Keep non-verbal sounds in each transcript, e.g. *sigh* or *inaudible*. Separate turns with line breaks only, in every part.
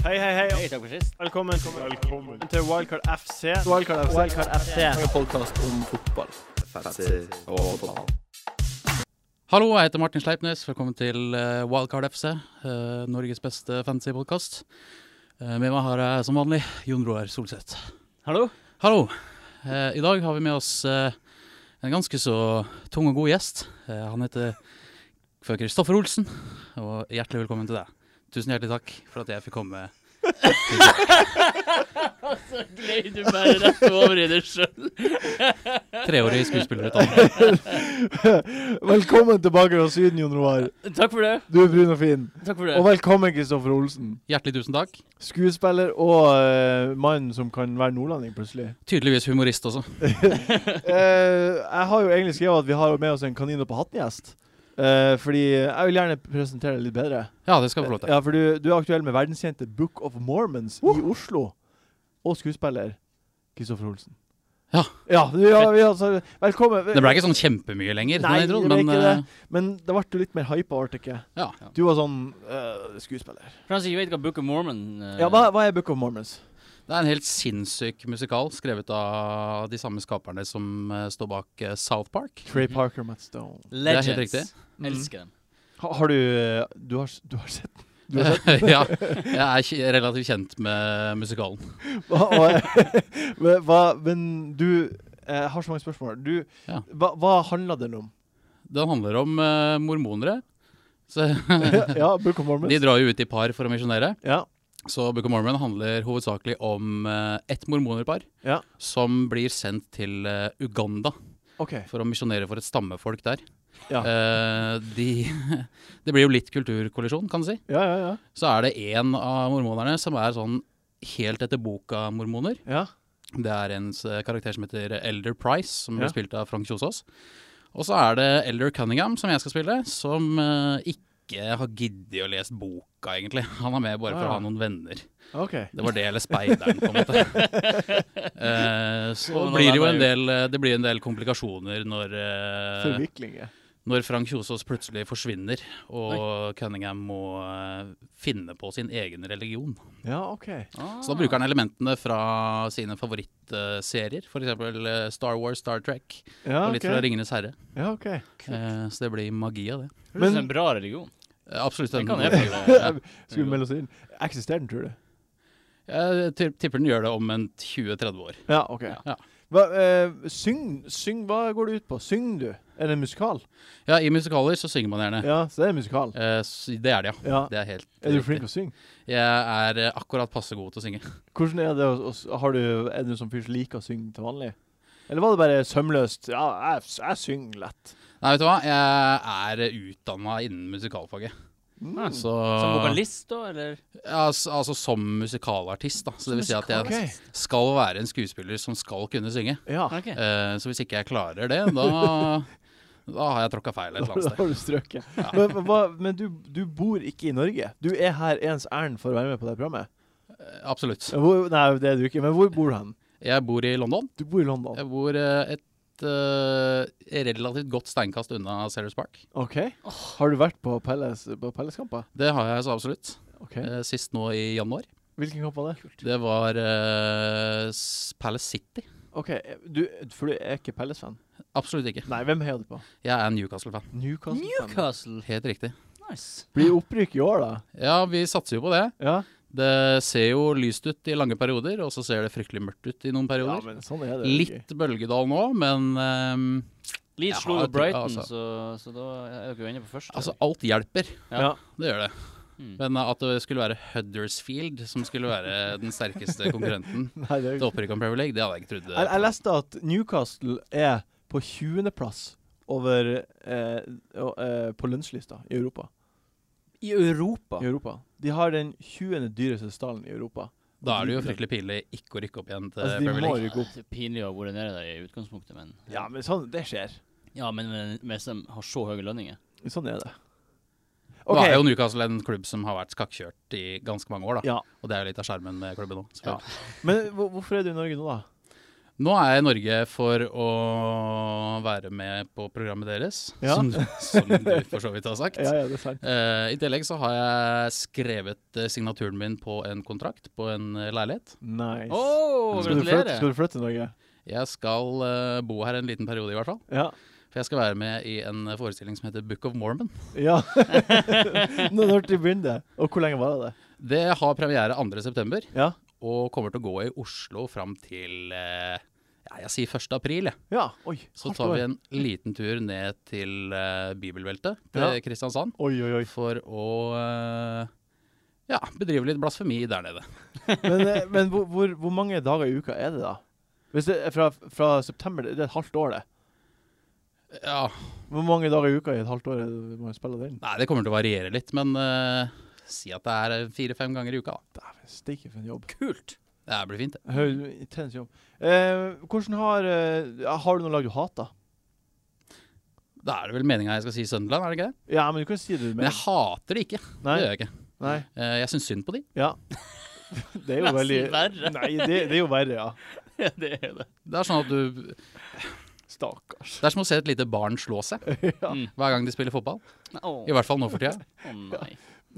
Hei, hei, hei.
takk for sist.
Velkommen, til Wildcard FC.
Wildcard FC.
Wildcard FC.
En podkast om fotball.
Hallo, jeg heter Martin Sleipnes. Velkommen til eh, Wildcard FC, eh, Norges beste fantasypodkast. Eh, Med meg har jeg som vanlig Jon Roar Solseth.
Hallo.
Hallo. Eh, I dag har vi med oss eh, en ganske så tung og god gjest. Eh, Han heter Før Kristoffer Olsen, og hjertelig velkommen til deg. Tusen hjertelig takk for at jeg fikk komme.
Glei du bare rett over i det sjøl.
Treårig skuespillerutdanning. *laughs*
Velkommen tilbake fra Syden, Jon Roar.
*laughs* Takk for det.
Du er brun og fin.
Takk for
Og
det.
velkommen, Kristoffer Olsen.
Hjertelig tusen takk.
Skuespiller og uh, mann som kan være nordlending,
*laughs*
plutselig.
Tydeligvis humorist også.
Eh, jeg har jo egentlig skrevet at vi har med oss en kanin på hatten-gjest. Eh, fordi jeg vil gjerne presentere deg litt bedre.
Ja, det skal vi få lov til.
Ja, for du, du er aktuell med verdenskjente Book of Mormons i Oslo. Og skuespiller Kristoffer Olsen.
Ja.
ja, du- ja vi, altså, velkommen.
Det ble ikke sånn kjempemye lenger,
Nei,
den
det
introen,
ble
men
ikke
eh,
det. Men det ble jo litt mer hypa, ble det ikke?
ja.
Du var sånn eh, skuespiller.
For han som ikke vet hva Book of Mormon eh,
Ja, hva, hva er Book of Mormons?
Det er en helt sinnssyk musikal, skrevet av de samme skaperne som eh, står bak eh, South Park.
Trey Parker, Matt Stone.
er
Legends. Mm.
helt riktig.
Elsker den.
Ha, har du eh, du har, s- du har sett den? Du har sett
*laughs* ja, jeg er ikke relativt kjent med musikalen.
hva, *laughs* og- men hva, Men du jeg har så mange spørsmål. Du,
Ja.
hva, hva handla den *laughs* om?
Den handler om eh, mormonere. Så,
ja, Book of Mormons.
de drar jo ut i par for å misjonere.
Ja.
Så Book of Mormon handler hovedsakelig om eh, ett mormonerpar
Ja.
som blir sendt til eh, Uganda
OK.
for å misjonere for et stammefolk der.
Ja.
Eh, de, *laughs* det blir jo litt kulturkollisjon, kan du si.
Ja, ja, ja.
Så er det én av mormonerne som er sånn helt etter boka-mormoner.
ja.
Det er en s- karakter som heter Elder Price, som
Ja.
blir spilt av Frank Kjosås. Og så er det Elder Cunningham, som jeg skal spille, som eh, ikke har giddet å lese boka, egentlig. *laughs* Han er med bare for
Ah, ja.
å ha noen venner.
OK.
Det var det, eller speideren, på en måte. *laughs* Eh, så
Og nå
blir det, jo
er
en
det
del, eh, det blir en del komplikasjoner når, eh,
Forviklinger.
når Frank Kjosås plutselig forsvinner, og Cunningham må eh, finne på sin egen religion.
Ja, OK.
Så da bruker han elementene fra sine favorittserier, f.eks. Star Wars, Star Trek
Ja,
og litt fra
Ah, OK.
Ringenes herre.
Ja, ok.
Eh, så det blir magi av det.
Høres ut
Men-
som en bra religion.
Eh, Absolutt.
Det
en-
kan
*laughs*
jeg faktisk.
Skal vi melde oss inn? Eksisterer den, tror du?
Jeg ti- tipper den gjør det om en 20-30 år.
Ja, OK.
Ja.
Hva, eh, syng, syng, hva går det ut på? Syng du? Er det en musikal?
ja, I musikaler så synger man gjerne.
Ja, så det er en musikal.
Eh, s- det er det, ja.
Ja.
Det er helt
Er du
riktig.
flink til å synge?
Jeg er eh, akkurat passe god til å synge.
Hvordan er det å- å s- har du, Er du som fyr som liker å synge til vanlig? Eller var det bare sømløst? Ja, jeg, jeg synger lett.
Nei, vet du hva. Jeg er utdanna innen musikalfaget.
Mm.
Så,
Som vokalist, da, eller?
Ja, s- altså som musikalartist, da. Så det vil si at jeg
Ok.
skal være en skuespiller som skal kunne synge. *laughs*
Ja,
Ok.
Eh, så hvis ikke jeg klarer det, da, da har jeg tråkka feil et eller
*laughs* da har du
annet sted.
strøket. Men, men hva, men du, du bor ikke i Norge. Du er her ens ærend for å være med på det programmet.
Eh, Absolutt.
Hvor, nei, det er du ikke. Men hvor bor du hen?
Jeg bor i London.
Du bor i London.
Jeg bor eh, et eh, relativt godt steinkast unna Sellers Park.
OK. Har du vært på Pelles, på Pelleskamper?
Det har jeg så absolutt.
OK.
Eh, sist nå i januar.
Hvilken kamp var det?
Det var eh, s- Palace City.
OK, du, for du er ikke Pelles-fan?
Absolutt ikke.
Nei, hvem heier du på?
Jeg er Newcastle-fan.
Newcastle.
Newcastle.
Helt riktig.
Nice.
Blir opprykk i år, da?
Ja, vi satser jo på det.
Ja,
Det ser jo lyst ut i lange perioder, og så ser det fryktelig mørkt ut i noen
ja
perioder.
men sånn er det. jo ikke.
Litt bølgedal nå, men ehm,
Leeds
Ja,
slo jo
det-
Brighton,
altså.
så, så da er dere jo inne på første.
altså, alt hjelper.
Ja.
Ja.
Det gjør det.
Mm.
Men eh, at det skulle være Huddersfield som skulle være den
*laughs*
sterkeste konkurrenten
Nei, det er
til
jo ikke.
opprykk om Premier League, det hadde jeg ikke trodd.
Jeg, jeg leste at Newcastle er på 20.-plass over eh, og, eh, på lønnslista i Europa.
I Europa?
I Europa. De har den 20. dyreste stallen i Europa.
Da er det jo fryktelig pinlig ikke å rykke opp igjen til
Altså, de
Premier
må
League.
rykke opp.
Det er pinlig å ha vært nede der i utgangspunktet, men
Ja, men sånn, det skjer.
Ja, men men- mens de har så høye lønninger.
Sånn er det.
Da er jo
OK.
Newcastle en klubb som har vært skakkjørt i ganske mange år, da.
Ja.
Og det er jo litt av skjermen med klubben nå. selvfølgelig.
Men hvor- hvorfor er du i Norge nå, da?
Nå er jeg i Norge for å være med på programmet deres,
Ja.
som, du- som du for så vidt har sagt.
*laughs* Ja, ja, det er sant.
Eh, I tillegg så har jeg skrevet eh, signaturen min på en kontrakt på en eh, leilighet.
Nice.
Oh,
skal, du flytte,
gratulerer!
skal du flytte til Norge?
Jeg skal eh, bo her en liten periode i hvert fall.
Ja.
For jeg skal være med i en forestilling som heter Book of Mormon.
ja. *laughs* Nå Når de begynner det? Og hvor lenge var det?
Det har premiere 2.9.
Ja.
og kommer til å gå i Oslo fram til eh, ja, jeg sier 1. april. Jeg.
ja. Oi.
Så
hardt
tar
år.
vi en liten tur ned til eh, bibelbeltet til
Ja.
Kristiansand
Oi, oi, oi.
for å eh, ja, bedrive litt blasfemi der nede.
Men, eh, men hvor, hvor, hvor mange dager i uka er det, da? Hvis det er fra, fra september Det er et halvt år, det.
Ja,
Hvor mange dager i uka i et halvt år er det man spiller den?
Nei, det kommer til å variere litt, men eh, si at det er fire-fem ganger i uka. da.
Dæven steike for en jobb.
Kult.
Det her blir fint. det.
Høy- Intens jobb. Eh, hvordan har eh, ja, Har du noe lag du hater?
Da er det vel meninga jeg skal si Sunderland, er det ikke det?
Ja, men du kan si det du
Men
mener.
jeg hater det ikke.
Nei,
Det gjør jeg ikke.
nei.
Eh, jeg syns synd på de.
Ja. Det er jo
Nesten
veldig
verre.
Nei, det, det er jo verre, ja.
Ja, det er det.
Det er sånn at du
Stakkars.
Det er som å se et lite barn slå seg
*laughs* ja.
Mm.
hver gang de spiller fotball.
Å
I hvert fall nå for tida.
å nei.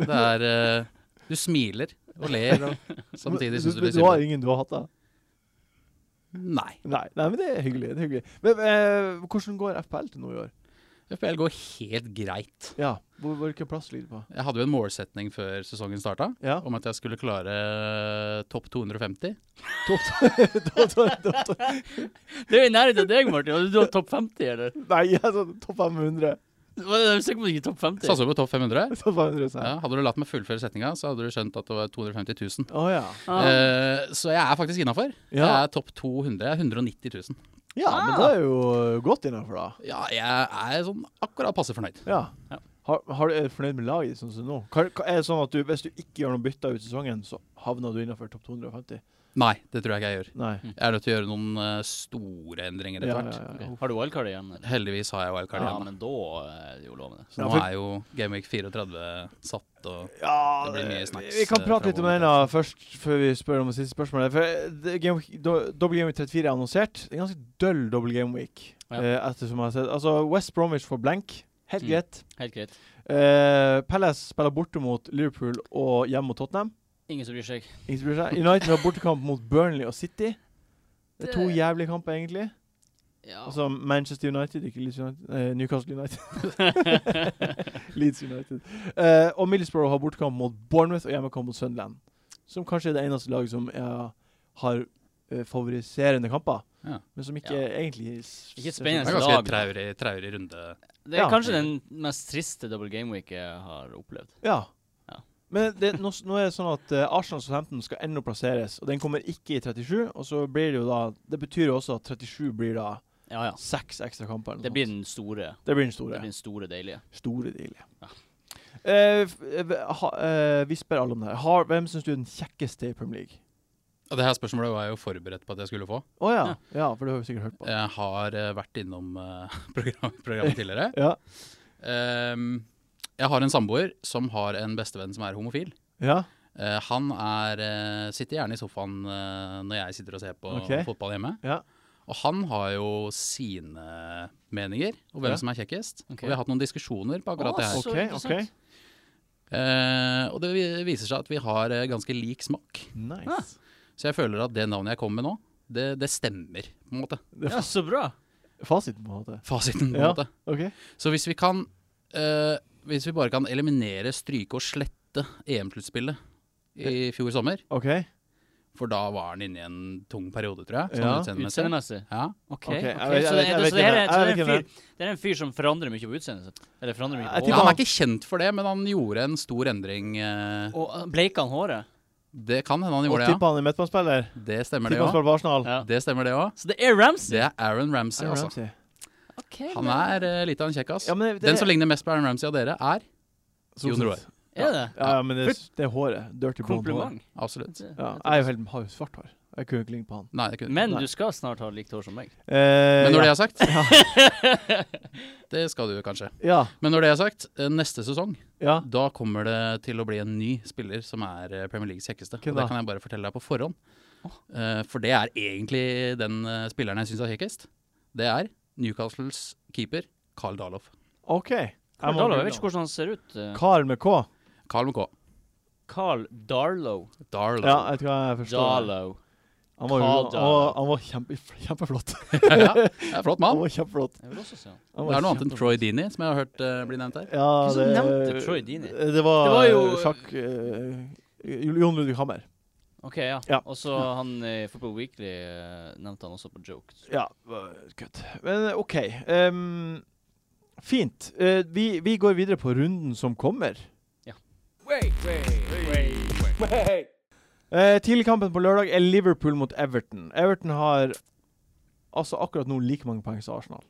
Det er eh, Du smiler og ler, og samtidig syns du
du,
blir
du har
synd.
ingen du har hatt, da?
Nei.
Nei, nei, men det er hyggelig. det er hyggelig. Men eh, hvordan går FPL til nå i år?
FPL går helt greit.
Ja, hvor, Hvilken plass ligger det på?
Jeg hadde jo en målsetning før sesongen starta
Ja.
om at jeg skulle klare eh, topp 250.
*laughs* Da- da- da- da-
Det er jo i nærheten av deg, Martin. Var du var topp 50, eller?
Nei, *laughs* altså, topp 500.
Hva er det? Jeg er sikker på at du ikke er topp 50.
Satser på topp 500.
Topp 500 sa
Ja,
jeg.
hadde du latt meg fullføre setninga, så hadde du skjønt at det var 250 000.
Å ja.
Ah.
Eh, så jeg er faktisk innafor. Jeg
Ja.
er topp 200. jeg er 190 000.
Ja, men det er jo godt innafor, da.
Ja, jeg er sånn akkurat passe fornøyd.
Ja.
Ja.
Har, har du, er du fornøyd med laget ditt sånn som nå? Hva, hva, er det sånn at du, Hvis du ikke gjør noen bytter ut sesongen, så havner du innafor topp 250?
Nei, det tror jeg ikke jeg gjør.
Nei.
Jeg er nødt til å gjøre noen eh, store endringer etter
Ja,
hvert.
ja, ja.
Ok. Har du wildcard igjen? Eller?
Heldigvis har jeg wildcard
Ja,
igjen. da.
men da er det jo lovende.
Så
Ja,
nå
for-
er jo Game Week 34 satt og
Ja,
Det blir mye
eh,
snacks,
Vi kan
eh,
prate
fra
litt om
vår
den da først, før vi spør om det siste spørsmålet. For eh, det- Game Week- do- Double Game Week 34 er annonsert. Det er ganske døll Double Game Week.
Ja.
eh, ettersom jeg har sett Altså, West Bromwich får blank. Helt
Mm.
greit.
Helt greit.
Eh, Palace spiller borte mot Liverpool og hjemme mot Tottenham.
Ingen som bryr seg.
Ingen som bryr seg. United har bortekamp mot Burnley og City. Det er to
Det-
jævlige kamper, egentlig.
Ja.
*laughs* Altså Manchester United, ikke Leeds United. Eh, Newcastle
*laughs*
United. Leeds United. Eh, og Middlesbrough har bortekamp mot Bournemouth og hjemmekamp mot Sunderland. Som kanskje er det eneste laget som er, har eh, favoriserende kamper.
Ja.
men som ikke
Ja.
egentlig sånn- s-
Ikke
ser så
spennende.
Det er
bra ut.
ganske
lag, da.
traurig, traurig runde.
Det er
Ja.
kanskje den mest triste double game week jeg har opplevd.
Ja.
Ja.
Men det, nå, s- nå er det sånn at eh, Arsenal og Hampton skal ennå plasseres, og den kommer ikke i 37. Og så blir det jo da Det betyr jo også at 37 blir da
Ja, ja.
seks ekstra kamper. eller noe
Det blir
sånt.
den store.
det blir den
Det
store.
blir den store deilige.
Store deal, ja.
Ja.
Eh, f- eh, ha, eh, vi spør alle om det her. Har, hvem syns du er den kjekkeste i Premier League?
Og det her spørsmålet var jeg jo forberedt på at jeg skulle få.
Å ja. ja. for det har vi sikkert hørt på.
Jeg har eh, vært innom eh, *laughs* program, programmet tidligere.
Ja.
Ehm, jeg har en samboer som har en bestevenn som er homofil.
ja.
Eh, han er, eh, sitter gjerne i sofaen eh, når jeg sitter og ser på
Ok.
fotball hjemme.
Ja.
Og han har jo sine meninger og hvem
Ja.
som er kjekkest.
Ok.
Og vi har hatt noen diskusjoner på akkurat
Å,
det her.
så
OK. ok
interessant.
Eh, og det vi- viser seg at vi har eh, ganske lik smak.
Nice.
Så jeg føler at det navnet jeg kom med nå, det, det stemmer på en måte.
Det er
Ja, så bra.
fa- fasiten, på en måte.
Fasiten på en
Ja.
måte.
OK.
Så hvis vi kan eh, Hvis vi bare kan eliminere, stryke og slette EM-sluttspillet i fjor sommer,
ok
for da var han inne i en tung periode, tror jeg. Sånn
Ja.
utseendemessig.
Utseendemessig.
Ja.
OK.
Ok, jeg vet- jeg
ok, Så
vet-
det
jeg
så
vet
det her
hvem
er-
det er.
så
Jeg
det er
vet
en fyr- det er en fyr som forandrer mye på utseendet sitt? Eller forandrer mye
Jeg
Ja,
på
tipper-
håret?
han er ikke kjent for det, men han gjorde en stor endring. eh,
Og uh, bleika han håret?
det kan hende han
Og
gjorde det,
tipper han er midtbanespiller.
ja. Det stemmer,
Tipper
det
han
òg.
spiller på Arsenal.
Ja.
Det stemmer, det òg.
Så det er Ramsey?
Det er Aaron Ramsey,
Aaron
altså.
Ramsey.
Ok,
Han
men-
er eh, litt av en kjekkas.
Ja, men det-
Den som ligner mest på Aaron Ramsey av dere, er
Sånn
Jon
sett.
Roar.
Er det?
Ja, ja, men det, det er håret. Dirty blonde hår.
Kompliment.
Absolutt.
Ja, jeg er jo helt, har jo svart hår. Jeg kunne ikke ligne på han.
Nei, det kunne
Men
Nei.
du skal snart ha likt hår som meg.
Eh,
Men når det
ja.
er sagt Det skal du kanskje.
*laughs* ja,
Men når det er sagt, eh, neste sesong
ja.
da kommer det til å bli en ny spiller som er eh, Premier Leagues kjekkeste.
Hvem
Og det
da?
kan jeg bare fortelle deg på forhånd. Eh, For det er egentlig den eh, spilleren jeg syns er kjekkest. Det er Newcastles keeper Carl Dahloff.
OK. Jeg må google
Darlow, jeg vet ikke hvordan han ser ut. eh.
han. Karl med K.
Carl MK.
Carl Darlow.
Darlow.
Ja, jeg tror jeg forstår. det.
Darlow.
Han var,
Karl
jo- han var, han var kjempe, *laughs* kjempeflott.
*laughs* ja, det er flott
Han *laughs*
mann.
var kjempeflott.
Jeg vil også se han.
Han
Det
var
er noe annet enn
kjempeflott.
Troy Deeney, som jeg har hørt eh, bli nevnt her.
Ja,
Hvem som nevnte Troy Deeney?
Det var,
Det var jo-
eh, sjakk eh, Jon Ludvig Hammer.
OK, ja.
Ja.
Og så han i Football Weekly eh, nevnte han også på jokes.
Ja, kutt. Men eh, OK. ehm, fint. Eh, vi, vi går videre på runden som kommer. Eh, Tidligkampen på lørdag er Liverpool mot Everton. Everton har altså akkurat nå like mange poeng som Arsenal.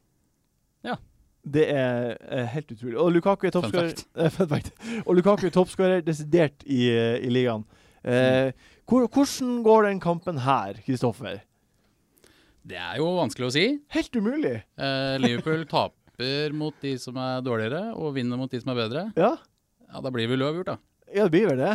Ja.
Det er eh, helt utrolig. Og Lukaku er
Fun
toppskårer.
fact.
*laughs* Eh, Fun fact. Og Lukaku er toppskårer desidert i, eh, i ligaen. Eh, hvor, hvordan går den kampen her, Kristoffer?
Det er jo vanskelig å si.
Helt umulig!
Eh,
*laughs*
Liverpool taper mot de som er dårligere, og vinner mot de som er bedre.
Ja,
Ja, Da blir vi uavgjort, da.
ja det blir vel det.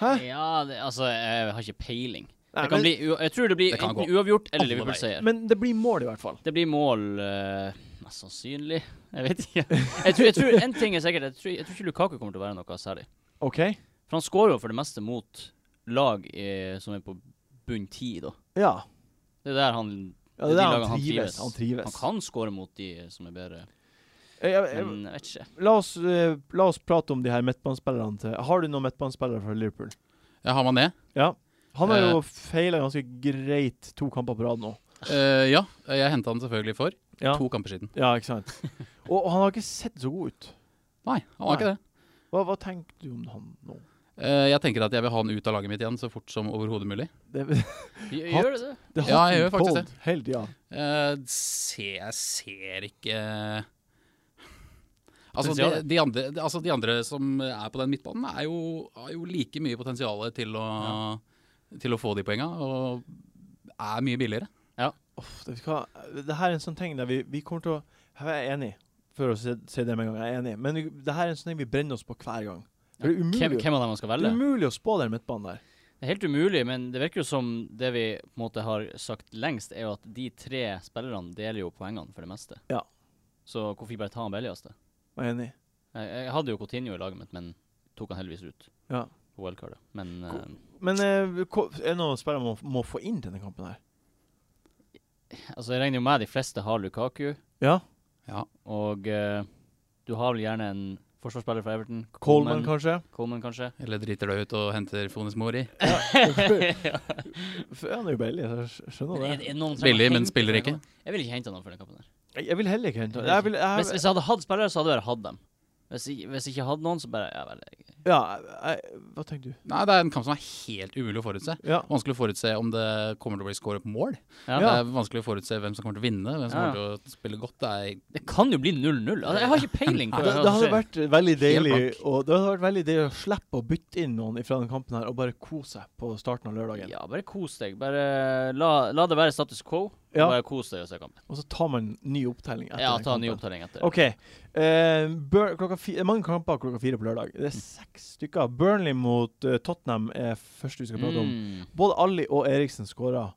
Hæ?
Ja, det, altså, jeg har ikke peiling.
Nei,
det kan
men,
bli, u- jeg tror det blir
Det kan
enten
gå
uavgjort
alle
eller Liverpool-seier.
men det blir mål, i hvert fall.
Det blir mål eh, mest sannsynlig. Jeg vet
*laughs*
ikke. Jeg tror, jeg tror, en ting er sikkert, jeg tror, jeg tror ikke Lukaku kommer til å være noe særlig.
OK?
For han skårer jo for det meste mot lag eh, som er på bunn ti, da.
Ja.
Det er der han
ja
Det
det er
er de
der
lagene
han
han
trives.
trives.
Han trives.
Han kan skåre mot de som er bedre,
Eh, jeg- jeg-
men jeg vet ikke.
La oss, eh, la oss prate om de her midtbanespillerne til Har du noen midtbanespillere fra Liverpool?
Ja, har man det?
Han har jo
Eh.
feila ganske greit to kamper på rad nå.
Eh, ja, jeg henta han selvfølgelig for
Ja,
to kamper siden.
ja ikke sant? Og, *laughs* og han har ikke sett så god ut.
Nei, han var
Nei.
ikke det.
Hva, hva tenker du om han nå?
Eh, jeg tenker at jeg vil ha han ut av laget mitt igjen så fort som overhodet mulig.
Det,
Gjør,
Hat-
gjør det det?
det
Ja,
hot
jeg gjør
and
faktisk
cold Hele tida.
Eh, se, jeg ser ikke Altså de,
Potensialet.
de, andre, de- altså, de andre som er på den midtbanen, er jo, har jo like mye potensial til å, til å få de poenga, og er mye billigere.
Uff, det, skal, det her er en sånn ting der vi, vi kommer til å Her er jeg enig, for å si, si det med en gang. Jeg er enig. Men vi, det her er en sånn ting vi brenner oss på hver gang. For det er
Hvem,
umulig,
hvem av dem man skal
det
velge?
er umulig å spå den midtbanen der.
Det er helt umulig, men det virker jo som det vi på en måte har sagt lengst, er jo at de tre spillerne deler jo poengene for det meste.
Ja.
Så hvorfor ikke bare ta han billigste?
Jeg er enig.
Jeg, jeg hadde jo Coutinho i laget mitt, men tok han heldigvis ut
Ja.
på wildcardet. Men eh,
Men eh, hva- er det noen spillere man må, må få inn til denne kampen her?
altså, jeg regner jo med de fleste har Lukaku,
Ja.
og eh, du har vel gjerne en forsvarsspiller fra Everton.
Coleman, kanskje?
Coleman, kanskje.
*laughs*
*laughs*
Eller driter deg ut og henter Fones Mori.
For han er jo billig, så jeg skj- skjønner
Men
det.
er- er noen som
Billig,
jeg må
men
hente
spiller
for
ikke.
den kampen? Jeg vil ikke hente noen for den kampen der.
Jeg jeg vil heller ikke hente han.
Jeg vil
Jeg vil, jeg,
Hvis, hvis jeg hadde hatt spillere, så hadde jeg bare hatt dem. Hvis, jeg- hvis jeg ikke hadde noen, så bare ja, vel, jeg-
ja, jeg, hva tenker du?
Nei, det er en kamp som er helt umulig å forutse.
Ja.
Vanskelig å forutse om det kommer til å bli scoret på mål.
ja.
Det er vanskelig å forutse hvem som kommer til å vinne, hvem som
Ja.
kommer til å spille godt. Det er
Det kan jo bli 0-0. Altså, jeg har ikke peiling. på
Det,
hva
det
som
hadde
skjer.
vært veldig deilig
Helt
og det hadde vært veldig deilig å slippe å bytte inn noen fra den kampen her og bare kose seg på starten av lørdagen.
Ja, bare kos deg. Bare la, la det være status quo. og
Ja.
Bare kos deg og se kampen.
Og så tar man ny opptelling etter
Ja,
den
ta en ny
kampen.
opptelling etter.
OK. Eh, Bur klokka fi det er mange kamper klokka fire på lørdag. Det er
Mm.
seks stykker. Burnley mot eh, Tottenham er første vi skal prate om.
Mm.
Både Ali og Eriksen skåra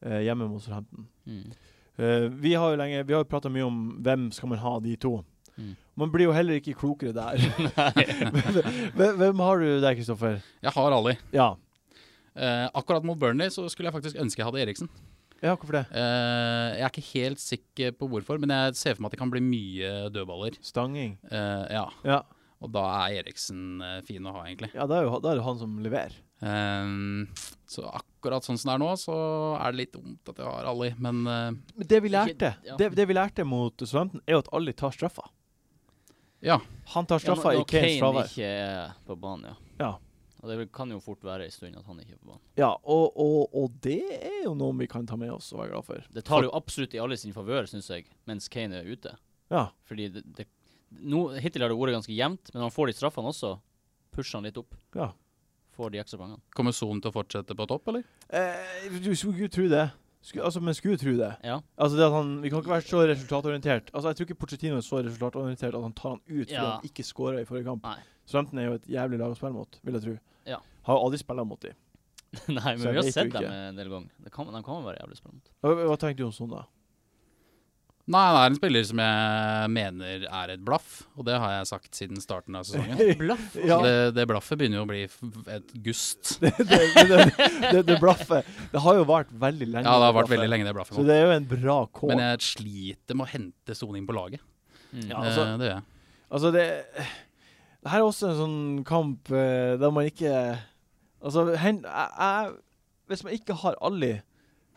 eh, hjemme mot Southampton.
Mm.
Eh, vi har jo lenge, vi har jo prata mye om hvem skal man ha av de to.
Mm.
Man blir jo heller ikke klokere
*laughs*
der. *laughs* hvem, hvem har du der, Kristoffer?
Jeg har Ali.
Ja.
Eh, akkurat mot Burnley så skulle jeg faktisk ønske jeg hadde Eriksen.
ja, hvorfor det?
Eh, jeg er ikke helt sikker på hvorfor, men jeg ser for meg at det kan bli mye dødballer.
Stanging.
Eh, ja,
Ja,
Og da er Eriksen eh, fin å ha, egentlig.
ja da, er jo, da er det han som leverer.
Eh, så akkurat sånn som det er nå, så er det litt dumt at jeg har Ali, men eh,
Men det vi lærte
Ikke- ja.
det, det vi lærte mot Southampton, er jo at Ali tar straffa.
ja.
Han tar
Ja,
straffa
når-
i
når
Kanes
Kane
fravær.
ikke er på banen, ja.
Ja.
Og det vil- kan jo fort være en stund at han ikke er på banen.
Ja, og, og, og det er jo noe vi kan ta med oss og være glad for.
Det tar jo absolutt i alle sin favør, syns jeg, mens Kane er ute.
Ja.
Fordi det, det nå- Hittil har det vært ganske jevnt, men når han får de straffene også, pusher han litt opp.
Ja.
får de ekstra poengene.
Kommer Son til å fortsette på topp, eller?
Eh, du skulle ikke tro det. Skulle, altså, men skulle tro det.
Ja. *laughs*
Altså det at han, Vi kan ikke være så resultatorientert. Altså Jeg tror ikke Pochettino er så resultatorientert at han tar han ut fordi
Ja.
han ikke skåra i forrige kamp.
Nei.
Southampton er jo et jævlig lag å spille mot, vil jeg tro.
Ja.
Har jo aldri spilt mot dem.
Nei,
Så jeg
men vi har
vet jo
sett
ikke.
dem en del ganger. Det kan, de kan være jævlig spennende.
Hva, hva tenkte du om sånn, da?
Nei, han er en spiller som jeg mener er et blaff, og det har jeg sagt siden starten av
*laughs*
sesongen.
Blaff.
Ja.
Så det, det blaffet begynner jo å bli f- et gust.
det, det, det, det, det blaffet. Det har jo vart veldig lenge.
Ja, det har
blaffet.
vært veldig lenge, det blaffet.
Så
nå.
det er jo en bra kår.
Men jeg sliter med å hente Son inn på laget.
Mm.
Ja, altså-
Eh, det gjør jeg.
Altså, det Det her er også en sånn kamp eh, der man ikke Altså, hen, jeg, jeg, hvis man ikke har Ali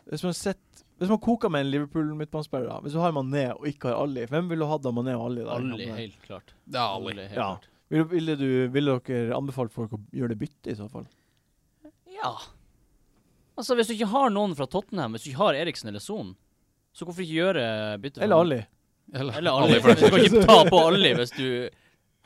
Hvis man sitter hvis man koker med en Liverpool-midtbanespiller, da, hvis du har Mané og ikke har Ali, hvem ville du hatt av Mané og Ali? da?
Alle, helt klart.
Det er Ali.
helt
Ja.
klart.
Ville, ville, du, ville dere anbefalt folk å gjøre det byttet, i så fall?
Ja. Altså, hvis du ikke har noen fra Tottenham, hvis du ikke har Eriksen eller Son, så hvorfor ikke gjøre bytte? for
Eller
ham?
Ali?
Eller,
Eller
Ali
Ali.
for den
*laughs* du
saks
kan
*laughs* skyld.
ikke ta på Ali hvis du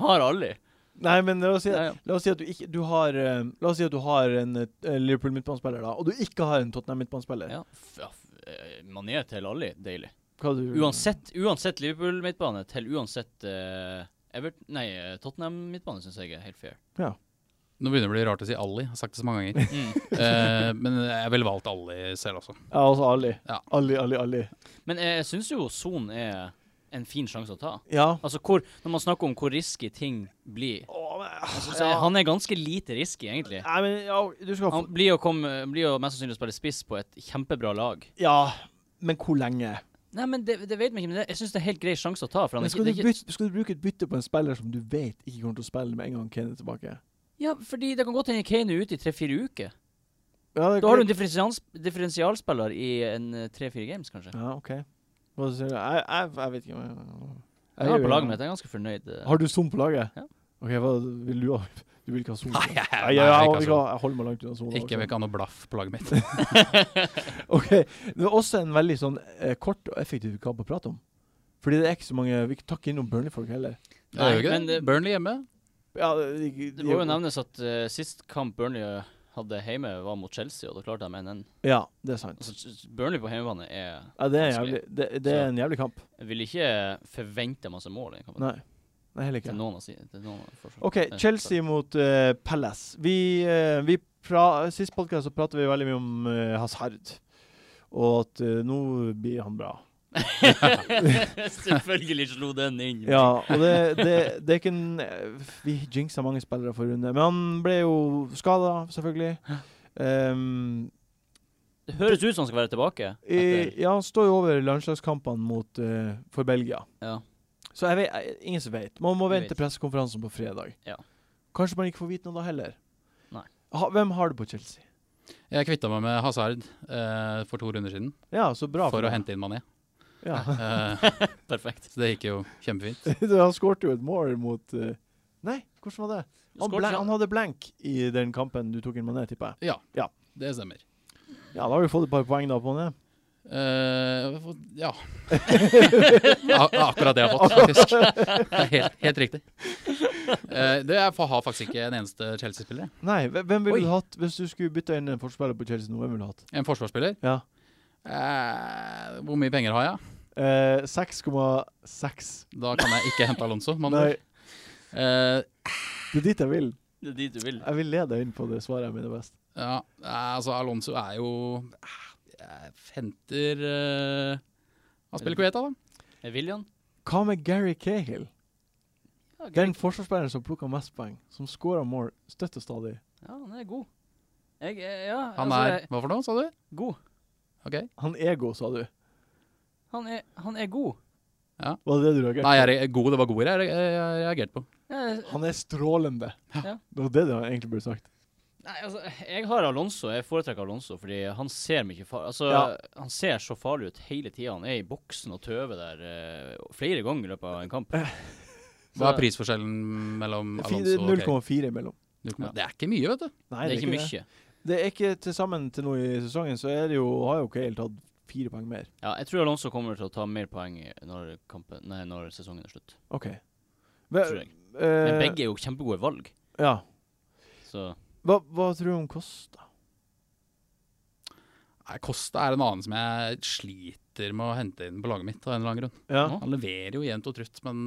har Ali.
Nei, men la oss si,
Ja, ja.
la oss si at du ikke du har eh, La oss si at du har en eh, Liverpool-midtbanespiller, da, og du ikke har en Tottenham-midtbanespiller.
Ja. F- ja, f- eh, Mané til Ali, deilig.
Hva du
Uansett, uansett Liverpool-midtbane til uansett eh, Everton Nei, eh, Tottenham-midtbane syns jeg er helt fair.
Nå begynner det å bli rart å si Ali, jeg har sagt det så mange ganger.
Mm. *laughs*
Eh, men jeg ville valgt Ali selv også.
Ja, altså Ali.
Ja.
Ali, Ali, Ali.
Men eh, jeg, jeg syns jo Son er en fin sjanse å ta.
Ja.
Altså, hvor, Når man snakker om hvor risky ting blir altså,
Åh, men,
så er, Han er ganske lite risky, egentlig.
Nei, men ja, du skal få
Han blir jo, komme, blir jo mest sannsynlig å spille spiss på et kjempebra lag.
Ja, men hvor lenge?
Nei, men det, det vet man ikke, men det, jeg syns det er helt grei sjanse å ta. For han
Men
er ikke,
skal,
det
du
er ikke,
bytte, skal du bruke et bytte på en spiller som du vet ikke kommer til å spille med en gang Kane er tilbake?
ja, fordi det kan godt hende Kane er ute i tre-fire uker.
Ja, det,
Da har du en differensials- differensialspiller i en eh, tre-fire games, kanskje.
Ja, OK. Hva sier du? Jeg, jeg, jeg vet ikke om jeg Jeg
Jeg har
er
på
jo-
laget mitt, jeg er ganske fornøyd. eh.
Har du Son på laget?
Ja.
OK, hva vil du ha? Du vil ikke ha Son?
*laughs* Nei, jeg,
Nei,
nei,
jeg, jeg, jeg,
jeg, vil ikke ha sånn.
holder meg langt unna Son.
ikke jeg vil
også.
ikke ha noe blaff på laget mitt.
OK. Det er også en veldig sånn eh, kort og effektiv kamp å prate om. Fordi det er ikke så mange Vi tar ikke innom Burnley-folk heller.
Det er jo ikke
men
det.
det-
Burnley hjemme.
Ja, de, de,
Det må jo nevnes at eh, sist kamp Burnley eh, hadde hjemme, var mot Chelsea, og da klarte de 1-1.
Ja, det er sant.
Altså, Ch- Burnley på hjemmebane er
Ja, det er, en
Vanskelig.
jævlig, det, det er
Så-
en jævlig kamp.
Jeg vil ikke forvente masse mål i den kampen.
Nei. Nei, heller ikke.
Til noen av si, til noen av forsvar.
OK,
Eh,
Chelsea mot eh, Palace. Vi, eh, vi pra Sist podkast så pratet vi veldig mye om eh, Hazard. Og at eh, nå blir han bra.
*laughs* Selvfølgelig slo den inn.
Ja, og det, det, det er ikke en eh, Vi jinxa mange spillere for runde. Men han ble jo skada, selvfølgelig. Ehm,
Det høres ut som han skal være tilbake.
i,
Etter,
ja, han står jo over landslagskampene mot, eh, for Belgia.
ja.
Så jeg vet, jeg, ingen som vet. Man må
Vi
vente
vet.
til pressekonferansen på fredag.
Ja.
Kanskje man ikke får vite noe da heller.
Nei.
Ha, hvem har du på Chelsea?
Jeg kvitta meg med Hazard eh, for to runder siden
Ja, så bra.
for å
deg.
hente inn Mané.
Ja. *laughs*
Eh,
Perfekt.
så det gikk jo kjempefint.
Du, han skårte jo et mål mot eh, Nei, hvordan var det? Han,
Skåret
blank,
ikke
han hadde blank i den kampen du tok inn Mané, tipper jeg.
Ja,
Ja.
det stemmer.
Ja, da har vi fått et par poeng da på Mané.
Eh, *laughs* ja. Ja, det er akkurat det jeg har fått, faktisk. Det er helt, helt riktig. Eh, det jeg har faktisk ikke en eneste Chelsea-spiller. jeg.
Nei, hve- hvem ville
Oi.
du hatt hvis du skulle bytta inn en forspiller på Chelsea nå? Hvem ville du hatt?
En forsvarsspiller.
Ja.
Eh, hvor mye penger har jeg?
Eh, 6,6.
Da kan jeg ikke hente Alonso. med andre
Nei,
ord. Eh,
det er dit jeg vil.
Det er dit du vil.
Jeg vil lede deg inn på det svaret jeg mener best.
ja, eh, altså Alonso er jo Jeg henter eh, Han spiller Kueta, da.
Er William?
Hva med Gary Cahill?
Ja, greit.
Den forsvarsspilleren som plukka mest poeng, som skåra mål støtt og stadig.
ja, han er god. Jeg, eh, ja,
Han
altså,
er
jeg-
Hva for noe, sa du?
god.
Ok.
Han ego, sa du.
Han er, han er god.
Var det det du reagerte
Nei, jeg, re- god, det var gode jeg, re- jeg reagerte på.
Ja,
på? Han er strålende.
Ja.
Det var det du egentlig burde sagt.
Nei, altså, jeg har Alonso. Jeg foretrekker Alonso fordi han ser mye far... Altså,
Ja.
han ser så farlig ut hele tida. Han er i boksen og tøver der eh, flere ganger i løpet av en
Eh,
kamp. Så
Hva er prisforskjellen mellom
Fi- det
Alonso
er
og Kane?
0,4 imellom.
0,1. Det er ikke mye, vet du.
Nei,
Det er ikke
det.
mye.
Det er ikke til sammen til nå i sesongen, så er det jo, har jo Cahill tatt fire poeng mer.
Ja, jeg tror Alonso kommer til å ta mer poeng når, kampen, nei, når sesongen er slutt.
OK. Eh,
Tror jeg. Men begge er jo kjempegode valg.
Ja.
Så
Hva, hva tror du om Kosta?
Nei, Costa er en annen som jeg sliter med å hente inn på laget mitt. av en eller annen grunn.
Ja.
Nå?
Han leverer jo jevnt og trutt, men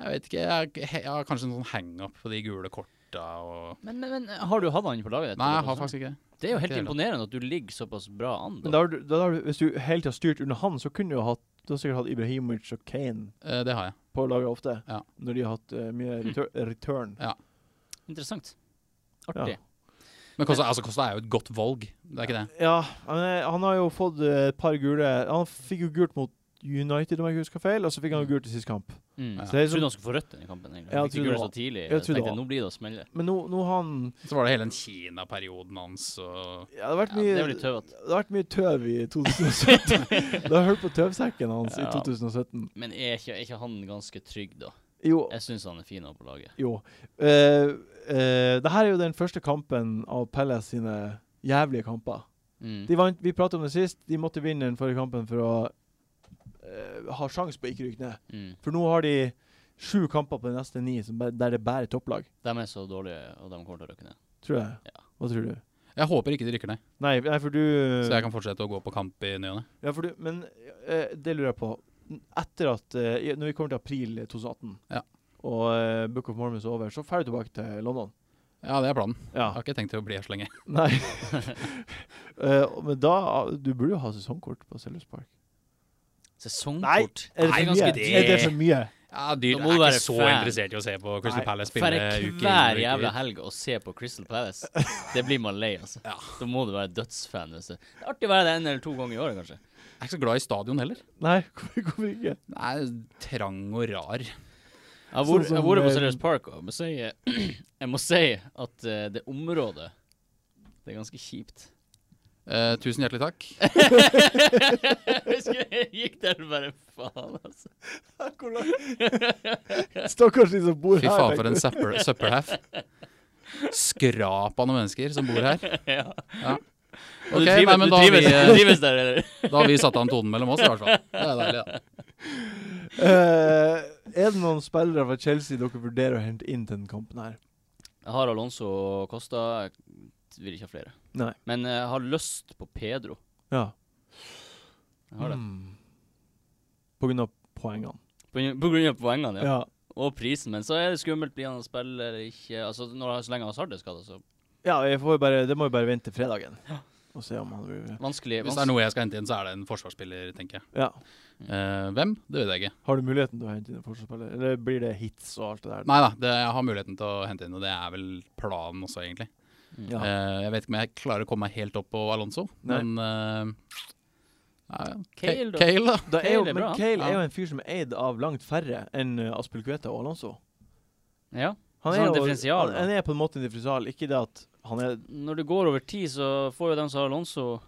jeg vet ikke. Jeg, jeg har kanskje en sånn hangup på de gule korta og
Men, men, eh, men har du hatt han på laget? ditt?
Nei, jeg har faktisk ikke det.
Det er jo helt
ikke det.
imponerende at du ligger såpass bra an.
Men da
Da.
har du, da har du, hvis du hele tida har styrt under han, så kunne du jo hatt Du har sikkert hatt Ibrahimovic og Kane
Eh, Det har jeg.
på laget ofte,
Ja.
når de har hatt eh, mye
Mm.
retur return.
Interessant. Artig.
Men Costa, altså, Costa er jo et godt valg, det er ikke det?
Ja, men eh, han har jo fått eh, et par gule Han fikk jo gult mot United, om jeg ikke husker feil, og så fikk han jo gult i siste kamp.
Mm.
Ja.
Så det er
Jeg trodde
liksom,
han skulle få rødt den i kampen. egentlig.
Ja,
Han
jeg
fikk
trodde
gul
det
så
var-
tidlig.
jeg
Jeg
trodde det
tenkte
var-
nå blir det å smelle.
men nå, nå har han
Så var det hele den Kina-perioden hans og
ja, Det har vært
Ja, det
mye
er jo litt tøvete.
Det har vært mye tøv i 2017.
*laughs*
det har hørt på tøvsekken hans i
Ja.
2017.
Men er ikke, er ikke han ganske trygg, da?
Jo.
Jeg syns han er fin også på laget.
jo. Uh, det her er jo den første kampen av Pelles sine jævlige kamper.
Mm.
De vant, vi pratet om det sist. De måtte vinne den forrige kampen for å eh, ha sjanse på å ikke rykke ned.
Mm.
For nå har de sju kamper på de neste ni som, bare- der det bærer topplag.
De er så dårlige, og de kommer til å røkke ned.
Tror jeg.
Ja.
Hva tror du?
Jeg håper ikke de rykker ned,
Nei, nei for du
så jeg kan fortsette å gå på kamp i ny og ne.
Ja, for du, men eh, det lurer jeg på. Etter at eh, i- Når vi kommer til april 2018
Ja.
og eh, Book of Mormons er over, så drar du tilbake til London.
Ja, det er planen.
Ja.
Jeg har ikke tenkt til å bli her så lenge.
*laughs* Nei. *laughs* Eh, men da Du burde jo ha sesongkort på Sellers Park.
Sesongkort?
Er det
Nei,
for mye?
ganske
Er det for mye?
Ja, dyr,
Da
Jeg
må du
er
være
ikke så
fan.
interessert i å se på Crystal
Nei,
Palace
Færre
spille uke inn og
hver
uke
jævla
ut.
helg å se på Crystal
*laughs*
Palace. Det blir man lei, altså.
Ja.
Da må du være dødsfan. Hvis det. det er artig å være det en eller to ganger i året, kanskje.
Jeg er ikke så glad i stadion heller.
Nei, *laughs* hvorfor, hvorfor
*laughs*
ikke?
Den er trang og rar.
Jeg har vært-
Sånn som,
jeg har vært på
eh,
Sellers Park, og jeg må si, *clears throat* jeg må si at eh, det området Det er ganske kjipt.
*laughs* Eh, tusen hjertelig takk.
Jeg husker jeg gikk der og bare faen, altså.
Stakkars de som bor
Fy
her. tenker
faen for
du.
en søppel- søppelhaff. Skrap av noen mennesker som bor her.
Ja.
Ja.
du
Ok,
trives,
nei, men
du
da har, vi,
trives, du *laughs*
eh,
trives der, eller?
da har vi satt an tonen mellom oss, i hvert fall. Det er deilig, da.
Eh, er det noen spillere fra Chelsea dere vurderer å hente inn til den kampen her?
Jeg har Alonso og Costa. Jeg vil ikke ha flere.
Nei.
Men eh, jeg har lyst på Pedro.
Ja.
Jeg har det.
Mm. På grunn av poengene.
På, grunn- på grunn av poengene, ja.
Ja.
Og prisen, men så er det skummelt. Blir han å spille eller ikke? Altså, når, så lenge Hazard er skada, så
ja, jeg får jo bare, det må jo bare vente til fredagen og se om han blir
vanskelig.
Hvis det er
vanskelig.
noe jeg skal hente inn, så er det en forsvarsspiller, tenker jeg.
Ja.
Eh, hvem? Det vet jeg ikke.
Har du muligheten til å hente inn en forsvarsspiller, eller blir det hits og alt det der?
Nei da, det, jeg har muligheten til å hente inn, og det er vel planen også, egentlig.
Ja.
Eh, jeg vet ikke om jeg klarer å komme meg helt opp på Alonso,
Nei.
men eh, nei,
Cale, da.
Cale, da.
Da er jo,
Cale er
men
bra, han.
Cale er
Ja.
jo en fyr som er eid av langt færre enn eh, Aspilkueta og Alonso.
Ja.
Han
Så
er,
han er
jo,
differensial,
han,
da.
han er på en måte en differensial. Ikke det at han er
Når det går over tid, så får jo dem som har Alonso,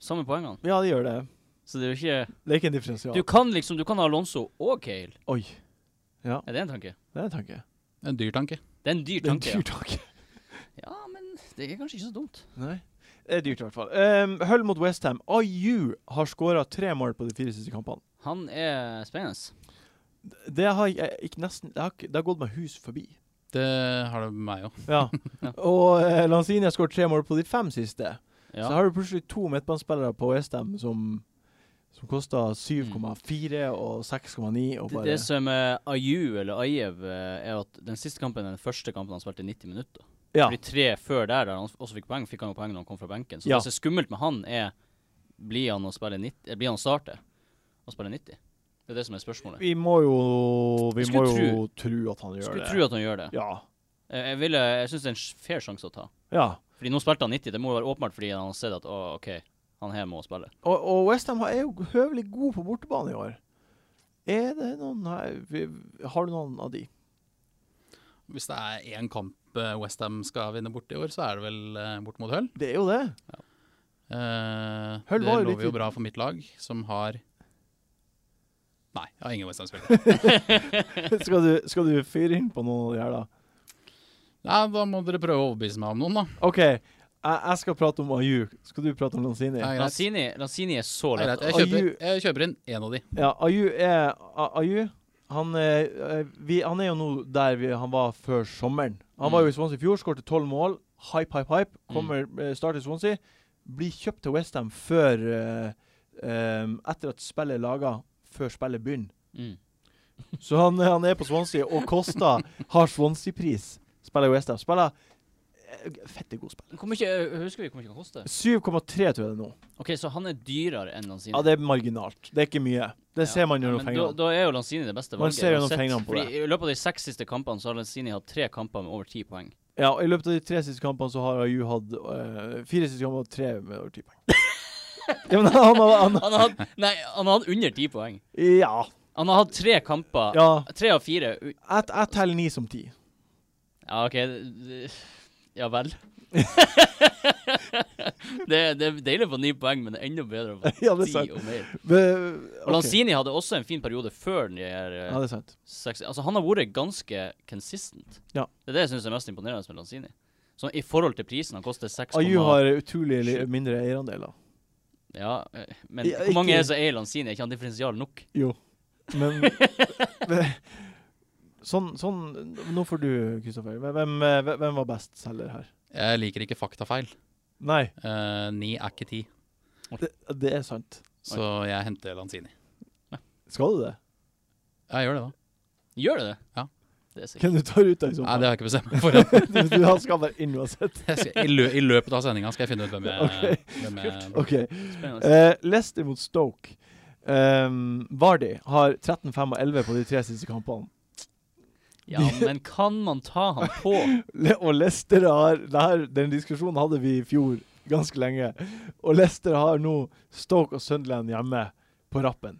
samme poengene.
Ja, det gjør det.
Så det er jo ikke
Det er ikke en differensial.
Du kan liksom Du kan ha Alonso og Cale.
Oi. Ja,
Er det en tanke?
det er en tanke.
En dyr tanke.
Det er en dyr
Det er en
tanke.
dyr tanke.
Ja. ja, men det er kanskje ikke så dumt.
Nei. Det er dyrt, i hvert fall. Um, Hull mot Westham. IU har skåra tre mål på de fire siste kampene.
Han er spennende.
Det har jeg, jeg ikke nesten det har, ikke- det har gått meg hus forbi.
Det har det med meg òg.
Ja.
Ja.
Og eh, Lanzini har skåret tre mål på de fem siste.
Ja.
Så har du plutselig to midtbanespillere på Westham som, som koster 7,4 og 6,9 og
Mm. Det,
bare
det som er Ayu eller Ajev, eh, er at den siste kampen er den første kampen han spilte i 90 minutter.
Ja.
For de tre før der, der han også fikk poeng, fikk han jo poeng når han kom fra benken. Så
Ja.
det som er skummelt med han, er blir han å spille 90, eh, blir han å starte og spille 90? Det er det som er spørsmålet.
Vi må jo Vi må
Skulle
jo tro at han gjør
Skulle
det.
tro at han gjør det. Eh,
Ja.
Jeg, jeg, ville- jeg syns det er en sj- fair sjanse å ta.
ja.
Fordi nå spilte han 90, det må jo være åpenbart fordi han har sett at å, OK, han her må spille.
Og, og Westham er jo høvelig god på bortebane i år. Er det noen her vi, Har du noen av de?
Hvis det er én kamp eh, West Ham skal vinne bort i år, så er det vel eh, bort mot Hull.
Det er jo det.
Eh,
Hull
det
var jo
lover
litt-
jo bra for mitt lag, som har Nei, jeg har ingen West Ham-spillere.
*laughs* skal, du, skal du fyre inn på noen av de her, da?
Nei, da må dere prøve å overbevise meg om noen, da.
OK, jeg, jeg skal prate om Ayu. Skal du prate om Lanzini?
Det er greit.
Lanzini, Lanzini er så
Det er
lett.
greit. Jeg,
Are
kjøper,
you-
jeg kjøper inn én av de.
Ja, Ayu er A- Ayu. Han, eh, eh, vi, han er jo nå der vi, han var før sommeren. Han var jo i Swansea i fjor, skårte tolv mål. hype, hype, hype. Kommer, eh, starter i Swansea. Blir kjøpt til Westham før eh, eh, Etter at spillet er laga, før spillet begynner.
Mm.
Så han, han er på Swansea, og Costa har Swansea-pris. Spiller i Westham. Spiller eh, fette god spill.
Hvor mye eh, Husker vi hvor mye han koster?
7,3 tror jeg det er nå.
OK, så han er dyrere enn Lanzini.
Ja, det er marginalt. Det er ikke mye. Det ser man gjennom
Men da,
fingrene.
da er jo Lanzini det beste
Man
valget.
ser gjennom
uansett.
fingrene på
Fordi I løpet av de seks siste kampene så har Lanzini hatt tre kamper med over ti poeng.
Ja, I løpet av de tre siste kampene så har Aju hatt eh, fire siste kamper og tre med over ti poeng. *laughs* ja, men han, har- han,
Han har hatt Nei, han har hatt under ti poeng.
ja,
Han har hatt tre kamper
ja.
Tre av fire u-
Jeg, jeg teller ni som ti.
Ja, OK. det- Ja vel. *laughs* det, det er deilig å få ni poeng, men det er enda bedre å få
*laughs* ja, det er
ti
sant.
og mer.
Men,
Og Lanzini hadde også en fin periode før den her eh,
Ja, det er sant.
seks Altså, han har vært ganske consistent.
Ja.
Det er det jeg syns er mest imponerende med Lanzini. Sånn i forhold til prisen. Han koster 6,
Aju har utrolig li- mindre eierandeler.
Ja, eh, men
Ja,
hvor mange
ikke-
er det som eier Lanzini? Er ikke han differensial nok?
Jo, men *laughs* men- Sånn, sånn Nå får du, Kristoffer. Hvem, hvem, eh, hvem var bestselger her?
Jeg liker ikke faktafeil.
Nei,
Eh, Ni er ikke ti,
det, det er sant.
så jeg henter Lanzini.
Skal du det?
Jeg gjør det, da.
Gjør det det?
Ja.
Det er sikkert.
Hvem du tar ut deg som
Nei, det har jeg ikke
*laughs*
bestemt meg for. ennå.
du, du, Han skal være inn uansett.
Jeg skal- I, lø I løpet av sendinga skal jeg finne ut hvem jeg,
Ok.
hvem jeg
OK.
Spennende.
Eh, Leicester mot Stoke. Um, Vardy har 13, 5 og 11 på de tre siste kampene.
Ja, men kan man ta han på?
*laughs* Le og Leicester har det her, Den diskusjonen hadde vi i fjor ganske lenge. Og Leicester har nå Stoke og Sunderland hjemme på rappen.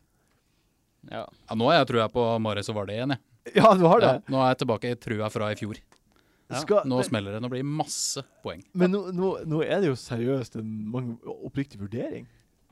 Ja.
ja, Nå er jeg trua på Marius og Vardø igjen, jeg.
Ja, du har det?
Ja, nå er jeg tilbake i trua fra i fjor.
Ja.
Skal,
Nå
men
smeller det. Nå blir det masse poeng.
men nå, nå, nå er det jo seriøst en mange, oppriktig vurdering.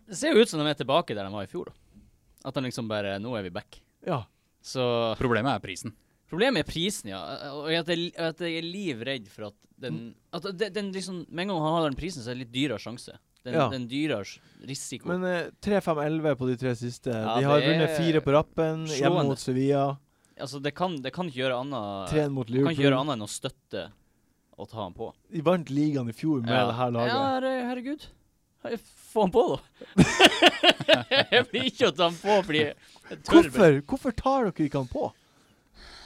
Det ser jo ut som de er tilbake der de var i fjor. da. At de liksom bare Nå er vi back.
Ja.
Så
Problemet er prisen.
Problemet er prisen, ja. Og at jeg, at jeg er livredd for at den
Mm.
At den, den liksom Med en gang han har den prisen, så er det litt dyrere sjanse. Den,
Ja.
den dyrere risiko.
Men eh, 3, 5, 11 på de tre siste.
Ja,
de har
det er
vunnet fire på rappen. Hjemme
slående.
mot Sevilla.
altså, det kan, det kan ikke gjøre annet
Tre mot
Det kan ikke gjøre
Liverpool.
annet enn å støtte å ta han på.
De vant ligaen i fjor med
Ja.
det her laget.
Ja, her- herregud. Her- Få han på, da. *laughs* jeg blir ikke å ta han på fordi jeg tør bare-
Hvorfor, hvorfor tar dere ikke han på?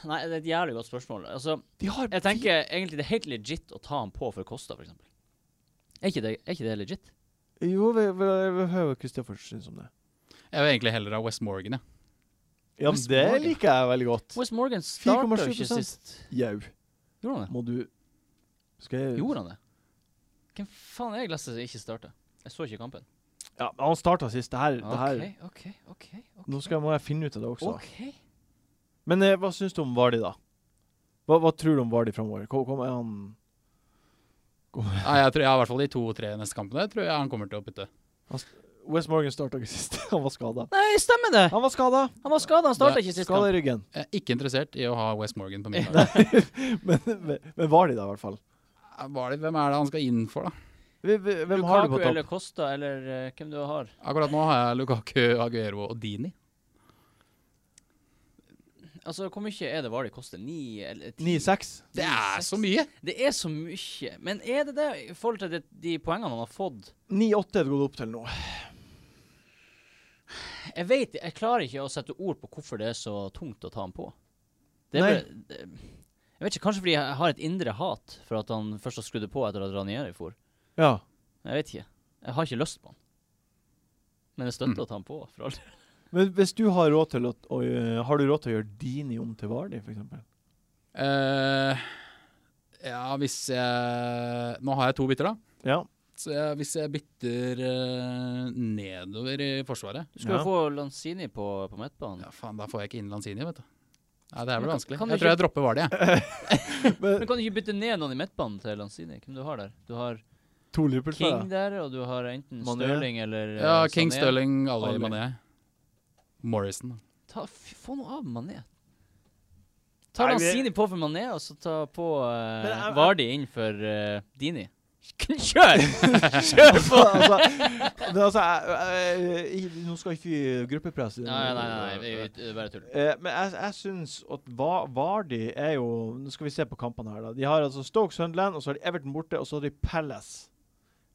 Nei, det er et jævlig godt spørsmål. Altså,
De har
jeg tenker egentlig det er helt legit å ta han på for Kosta, for eksempel. Er ikke det, er ikke det legit?
ti- Jo, vi, vi, vi hører hva Kristoffer syns om det.
Jeg vil egentlig heller ha West Morgan, jeg.
Ja, men
Wes
det
Morgan.
liker jeg veldig godt.
West Morgan starta jo ikke
4,7%.
sist.
Jau,
Gjorde han det?
må du Skal jeg
Gjorde han det? Hvem faen er det jeg leste som ikke starta? Jeg så ikke kampen.
Ja, men han starta sist. Det her, det her.
OK, OK, OK. ok.
Nå skal, må jeg finne ut av det også.
OK.
Men eh, hva syns du om Vardi, da? Hva, hva tror du om Vardi framover? Hvor hvor er han
Nei, jeg tror jeg har i hvert fall de to-tre neste kampene tror jeg han kommer til å putte.
West Morgan starta ikke sist. *laughs* Han var skada.
Nei, stemmer det!
Han var skada!
Han var skada, han starta ikke sist
Skada
kamp.
i ryggen. *laughs*
Jeg er ikke interessert i å ha West Morgan på min lag.
Men, men, men Vardi, da, i hvert fall.
Hva er det- Hvem er det han skal inn for, da?
Hvem hvem har du
Lukaku
på topp?
eller Costa eller eh, hvem du har.
Akkurat nå har jeg Lukaku, Aguero og Dini.
Altså, hvor mye er det Vardø koster? Ni eller ti?
9-6?
Det er så mye!
Det er så mye. Men er det det i forhold til det, de poengene han har fått?
9-8 er det gått opp til nå.
Jeg vet, jeg klarer ikke å sette ord på hvorfor det er så tungt å ta han på. Det er
Nei.
bare, det, jeg vet ikke, kanskje fordi jeg har et indre hat for at han først har skrudd det på etter at Ranieri for.
Ja.
Jeg vet ikke. Jeg har ikke lyst på han. Men jeg støtter
Mm.
å ta han på. For alt.
Men hvis du har råd til å, å gjø- Har du råd til å gjøre Dini om til Vardi, f.eks.?
Eh, ja, hvis jeg Nå har jeg to bytter, da.
Ja.
Så jeg, hvis jeg bytter eh, nedover i forsvaret
Du skal jo
Ja.
få Lanzini på, på midtbanen.
Ja, faen, da får jeg ikke inn Lanzini, vet du. Nei, det her
Men
blir
kan-
vanskelig.
kan du Eh,
Jeg tror jeg dropper Vardø, jeg.
Men kan du ikke bytte ned noen i midtbanen til Lanzini? Hvem du har der? Du har
To Liverpool-spillere. *laughs*
King der, og du har enten
Mané.
Stirling eller eh,
Ja, King
Sané.
Stirling, Ali
Ali.
Mané. Morrison. da.
Ta, fy- få noe av Mané. Ta
Nei, vi-
Lanzini på for Mané, og så ta på
Men eh,
uh,
jeg-
Vardi inn for eh, Dini. *laughs* Kjør!
*laughs* Kjør på! altså, *laughs* men altså jeg, jeg, jeg, Nå skal ikke vi gruppepresse.
Nei, nei, nei, nei jeg- jeg- bare tull.
Eh, men jeg, jeg syns at Va Vardy er jo Nå skal vi se på kampene her, da. De har altså Stoke Sunderland, og så har de Everton borte, og så har de Palace.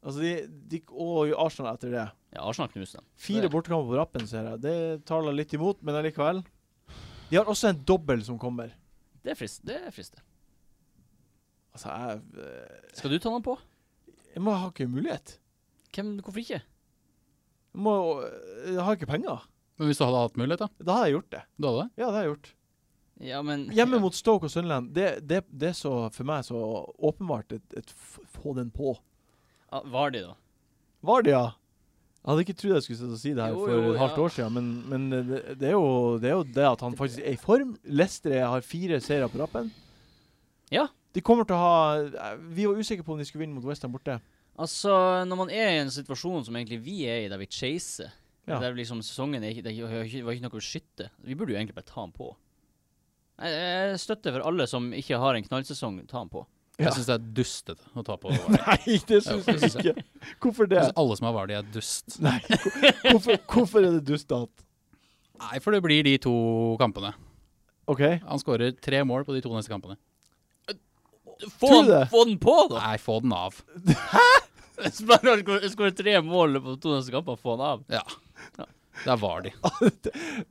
Altså de, de Og Arsenal etter det.
Ja, Arsenal knuste dem.
Fire
Det-
bortekamper på rappen, ser jeg. Det taler litt imot, men allikevel. De har også en dobbel som kommer.
Det er frist, det er frist.
Altså, jeg, eh,
Skal du ta den på?
jeg må ha ikke mulighet.
Hvem, hvorfor ikke?
Jeg, må, eh, jeg har ikke penger.
Men hvis du hadde hatt mulighet, da?
Da hadde jeg gjort det.
Du hadde det?
Ja, det har jeg gjort.
Ja, men *laughs*
Hjemme mot Stoke og Sunderland, det, det, det er så, for meg så åpenbart et, et f- få den på.
ja, Vardy, da.
Var det, ja? Jeg hadde ikke trodd jeg skulle sitte og si det her
Jo,
for
jo,
et halvt
ja.
år siden, men, men det, det, er jo, det er jo det at han faktisk er i form. Leicester har fire seire på rappen.
Ja.
De kommer til å ha Vi var usikre på om de skulle vinne mot Western borte.
Altså, når man er i en situasjon som egentlig vi er i, der vi chaser
Ja.
Der liksom sesongen er ikke, det er ikke- det var ikke noe å skytte. Vi burde jo egentlig bare ta den på. Jeg, jeg støtter for alle som ikke har en knallsesong, ta den på.
Ja.
Jeg syns det er dustete å
*laughs*
ta på
*laughs*
Vardy.
Nei, det syns
Jo, det
jeg
synes
ikke. Hvorfor
Jeg
det?
synes alle som har Vardy, er dust.
Nei, hvor- hvorfor, hvorfor er det dustete?
Nei, for det blir de to kampene.
OK?
Han skårer tre mål på de to neste kampene.
Få,
Tror du
den,
det?
få den på, da!
Nei, få den av.
*laughs* Bare skåre tre mål på to neste kamper, få den av.
Ja. Der var de.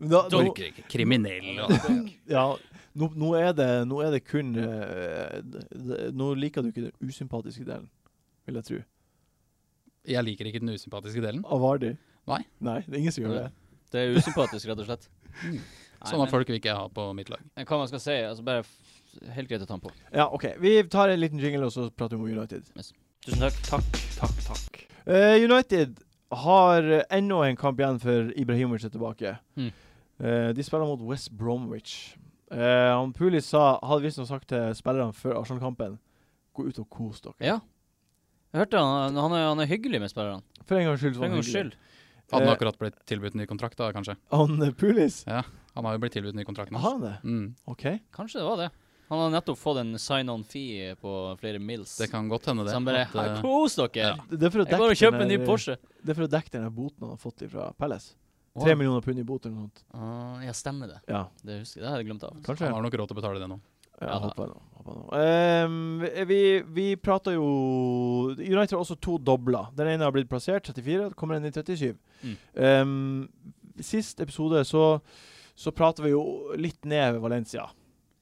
Men Da, nå,
Orker ikke. Kriminell og
ja, nå, nå, er det, nå er det kun eh, d- d- Nå liker du ikke den usympatiske delen, vil jeg tro.
Jeg liker ikke den usympatiske delen.
Av Vardy.
Nei.
Nei, det er ingen som gjør det.
Det er usympatisk, rett og slett. Nei,
Sånne
men-
Sånn folk vil ikke jeg ha på mitt lag.
Men Hva man skal si, altså bare f- helt greit å ta den på.
Ja, OK. Vi tar en liten jingle, og så prater vi om United.
Tusen takk. Takk, takk, takk.
Eh, United har eh, enda en kamp igjen for Ibrahimovic er tilbake.
Mm.
Eh, de spiller mot West Bromwich. Eh, han Puli sa, hadde visstnok sagt til spillerne før Arsenal-kampen Gå ut og kos dere.
Ja. Jeg hørte han, han, er, han er hyggelig med spillerne.
For en gangs skyld. så
For
var
en
han
gangs skyld.
hyggelig.
Hadde han
Eh.
akkurat blitt tilbudt ny kontrakt, da, kanskje?
Han eh, Pulis?
Han har jo blitt tilbudt ny kontrakt nå.
Har han det?
Mm.
OK.
Kanskje det var det. Han har nettopp fått en sign-on-fee på flere mils.
Det kan godt hende, det.
Så han bare
at,
«Hei,
eh,
Kos dere!
Det det er for å
Jeg går og
dekke
kjøper en ny
der-
Porsche.
Det er for å dekke den der boten han har fått fra Palace.
Wow.
Tre millioner pund i bot eller noe sånt.
Ah, ja, stemmer det.
Ja,
Det husker jeg. Det hadde jeg glemt av.
kanskje.
han har nok råd til å betale det nå.
Ja,
Ja, da.
håper jeg nå. Håper jeg nå. Ehm, vi vi prata jo United har også to dobler. Den ene har blitt plassert, 34, og det kommer en i 37.
Mm.
Ehm, sist episode så, så prata vi jo litt ned ved Valencia.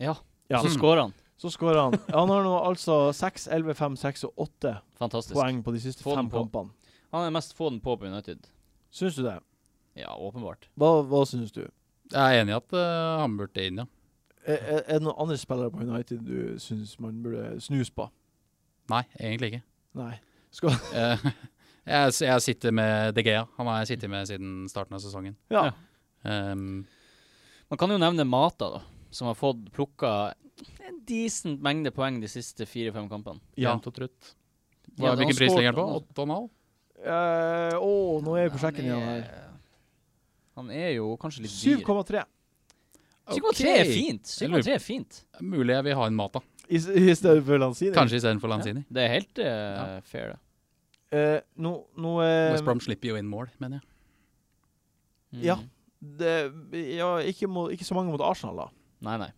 Ja.
Ja.
Så scorer han.
Så skårer
*laughs*
han. Han har nå altså 6, 11, 5, 6 og 8
Fantastisk.
poeng på de siste
Få den
fem
på.
kampene.
Han er mest få den på på United.
Syns du det?
Ja, åpenbart.
Hva, hva syns du?
Jeg er enig i at eh, han burde inn, ja.
Er, er- er det noen andre spillere på United du syns man burde snuse på?
Nei, egentlig ikke.
Nei. Skal,
Eh, jeg, s- jeg sitter med De Gea. Han har jeg sittet med siden starten av sesongen.
ja.
Ja.
Ehm,
Man kan jo nevne Mata, da. Som har fått plukka en decent mengde poeng de siste fire-fem kampene.
Ja.
Jevnt og trutt.
Ja,
Hva,
han
hvilken pris
skårte
ligger han på?
han også.
8,5?
Eh, Å, nå er vi på sjekken igjen her.
er- Han er jo kanskje litt dyr.
7,3
7,3 er
Ok.
fint.
Jeg lurer
7,3 er fint.
Mulig jeg vil ha en Mata.
i, s- i stedet for Lanzini.
Kanskje istedenfor
Ja,
Lanzini.
det er helt eh, fair, det.
Eh, nå nå eh,
West Brom slipper jo inn mål, mener jeg.
Mm.
Ja. det, ja, ikke, må, ikke så mange mot Arsenal, da.
Nei, nei.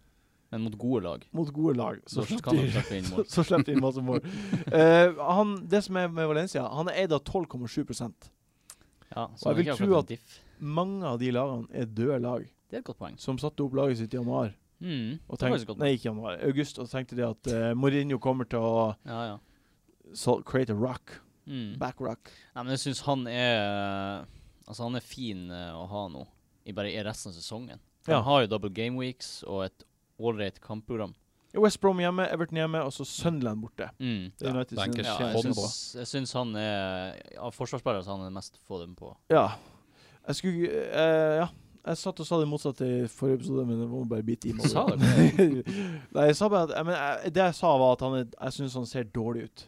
Men mot gode lag.
Mot gode lag. Så
Så
slapp
kan
de
han slippe
*laughs*
inn
så,
mål.
så slapp de inn masse mål. Eh, han, det som er med Valencia, han er eid av 12,7
Ja,
Og *laughs* jeg
så det er
vil
ikke
tro
akkurat
at-
en diff.
Mange av de lagene er døde lag
Det er et godt poeng.
som satte opp laget sitt i januar.
Mm.
Og
det er faktisk et
tenkte,
godt poeng.
nei, ikke januar. August. Og tenkte de at eh, Mourinho kommer til å
Ja, ja.
sol- create a rock.
Mm.
Back rock.
Nei, men jeg syns han er Altså, han er fin eh, å ha nå, i bare i resten av sesongen. Han
Ja.
har jo double game weeks og et ålreit kampprogram.
West Brom hjemme, Everton hjemme, og så Sunderland borte.
Mm.
Det er
Ja,
United sine
bankers.
Ja,
skjerm
jeg
Få den
på.
syns- jeg syns han er Av forsvarsspillere så er han den mest få dem på.
Ja. Jeg skulle eh, Ja. Jeg satt og sa det motsatte i forrige episode, men jeg må bare bite i meg.
Sa du
*laughs* Nei, jeg sa bare at jeg, men jeg, Det jeg sa, var at han er, jeg syns han ser dårlig ut.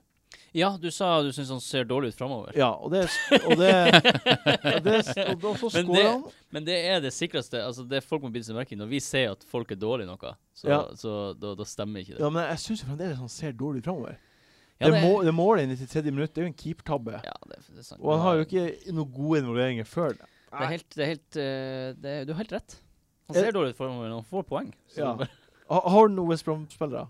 Ja, du sa du syns han ser dårlig ut framover.
Ja, og det Og det, og det og, da- og så
Men
skårer
det-
han.
*laughs* Men det er det sikreste. Altså det folk må bite seg merke i. Når vi sier at folk er dårlige i noe, så,
Ja.
så da, da stemmer ikke det.
Ja, men jeg syns fremdeles han ser dårlig ut framover.
Ja, Ja,
det, må, det målet i 93. minutt det er jo en keepertabbe.
Ja, det, det er sant.
Og han har jo ikke noen gode involveringer før. det.
Det *laughs* er helt, det er helt eh, det er, Du har helt rett. Han
Er-
ser dårlig ut formen, men han får poeng. Så
Ja.
det er bare-
Ha, har du noen West Brom-spillere?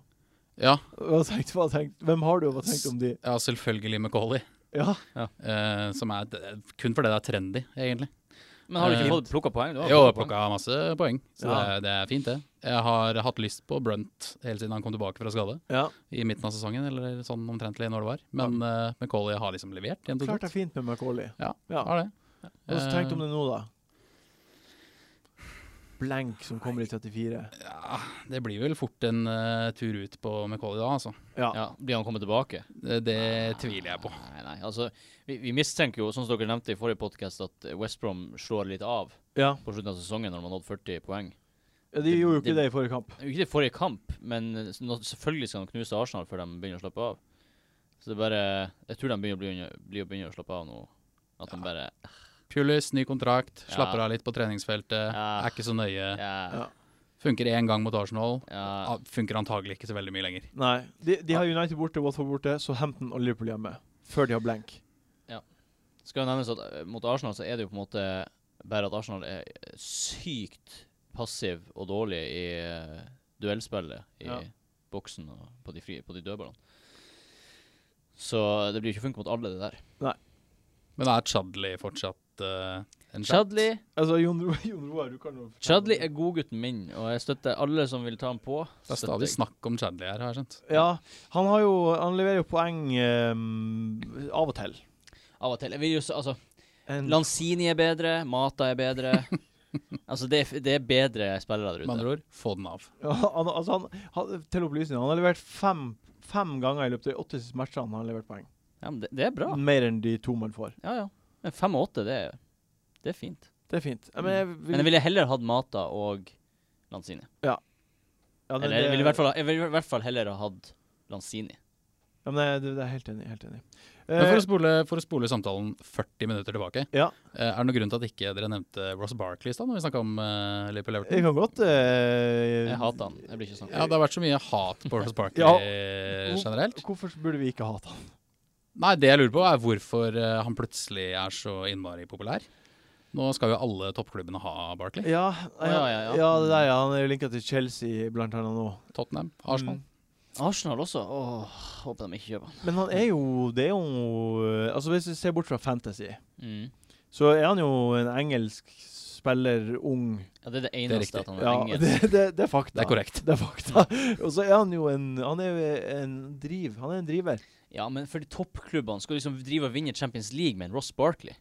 Ja,
Hva har du tenkt, hva har du tenkt? Hvem har du, og hva har du tenkt om de?
ja selvfølgelig Macauley.
Ja,
eh, som er det er kun fordi det er trendy, egentlig.
Men har du ikke
Eh,
fått plukka poeng? Du har
Jo, jeg
plukket poeng.
plukka masse poeng, så det,
Ja.
er, det er fint, det. Jeg har hatt lyst på Brunt helt siden han kom tilbake fra skade.
ja.
I midten av sesongen, eller sånn omtrentlig når det var. Men eh, Macauley har liksom levert. jevnt og
Klart det er
trutt.
fint med Macauley.
Ja,
Ja.
har det.
Hva har du tenkt om
Eh,
det nå, da? Blank som kommer i 34.
Eh, ja, det blir vel fort en eh, tur ut på Macauley da, altså.
Ja.
Ja, Blir han kommet tilbake?
Det, det tviler jeg på.
Nei, nei, altså vi, vi mistenker jo, sånn som dere nevnte i forrige podkast, at eh, West Brom slår litt av
ja.
på slutten av sesongen når de har nådd 40 poeng.
Ja, De gjorde jo ikke
Det-
det i forrige kamp.
Det er jo Ikke det forrige kamp, men eh, s- nå, selvfølgelig skal de knuse Arsenal før de begynner å slappe av. Så det er bare Jeg tror de begynner å bli, under- bli å begynne å slappe av nå. At de bare
Pulis, ny kontrakt,
Ja.
slapper av litt på treningsfeltet.
Ja.
Er ikke så nøye.
Ja.
Ja.
Funker én gang mot Arsenal.
ja.
Ah, Funker antagelig ikke så veldig mye lenger.
Nei. De, de har United borte, Watford borte, Southampton og Liverpool hjemme. Før de har blank.
Skal jo nevnes at eh, mot Arsenal så er det jo på en måte bare at Arsenal er eh, sykt passiv og dårlig i eh, duellspillet i
Ja.
boksen og på de, frie, på de dødballene. Så det blir jo ikke funket mot alle, det der.
Men er Chadley fortsatt eh, en chat?
Chadley,
Altså, Jon Ro- *laughs* Jon Roar, du kan jo fortelle
Chadley
om det.
er godgutten min, og jeg støtter alle som vil ta ham på.
Det er
Støtter
stadig
jeg.
snakk om Chadley her, har jeg skjønt.
Ja. Han har jo Han leverer jo poeng ehm, av og til.
Av og til. Jeg vil jo, s- altså,
En,
Lanzini er bedre, Mata er bedre.
*laughs*
altså, det er, f- det er bedre spillere der
Med
ute.
andre ord, få den av.
ja, *laughs* han, altså han, han, til opplysning, han har levert fem, fem ganger i løpet av de åtte siste matchene han har levert poeng.
Ja, men det, det er bra.
Mm.
Mer enn de to man får.
Ja, ja. Men Fem og åtte, det er, det er fint.
Det er fint. Ja, Men jeg
Mm. Men jeg ville heller hatt Mata og Lanzini.
ja, men
Eller jeg
det-
ville i hvert fall, jeg ville i hvert fall heller ha hatt Lanzini.
Ja, men jeg, det, det er helt enig. Helt enig.
Men for
Eh,
å, spole, for å spole samtalen 40 minutter tilbake,
Ja.
eh, er det noen grunn til at ikke dere nevnte Ross Barkley i stad når vi snakka om eh, Liverpool
jeg
Everton?
kan godt eh,
Jeg hater han. Jeg blir ikke sånn. snakket
Ja,
om.
det har vært så mye hat på Ross
*laughs*
Barkley
Ja.
eh, generelt.
Hvorfor burde vi ikke hate han?
Nei, det jeg lurer på er hvorfor eh, han plutselig er så innmari populær. Nå skal jo alle toppklubbene ha Barkley.
Ja,
Å, ja, ja, ja.
det der, ja. Han er jo linka til Chelsea blant annet nå.
Tottenham, Arsenal.
Mm.
Arsenal også. Åh, håper de ikke kjøper han.
Men han er jo Det er jo eh, Altså Hvis vi ser bort fra fantasy,
Mm.
så er han jo en engelsk spiller, ung
Ja, det er det
er
eneste
riktig.
at han er
Ja,
engel.
*laughs* det, det, det er fakta.
Det er korrekt.
Det er fakta. *laughs* Og så er han jo en Han er jo en driv. Han er en driver.
Ja, men for de toppklubbene skal du liksom drive og vinne Champions League med en Ross Barkley.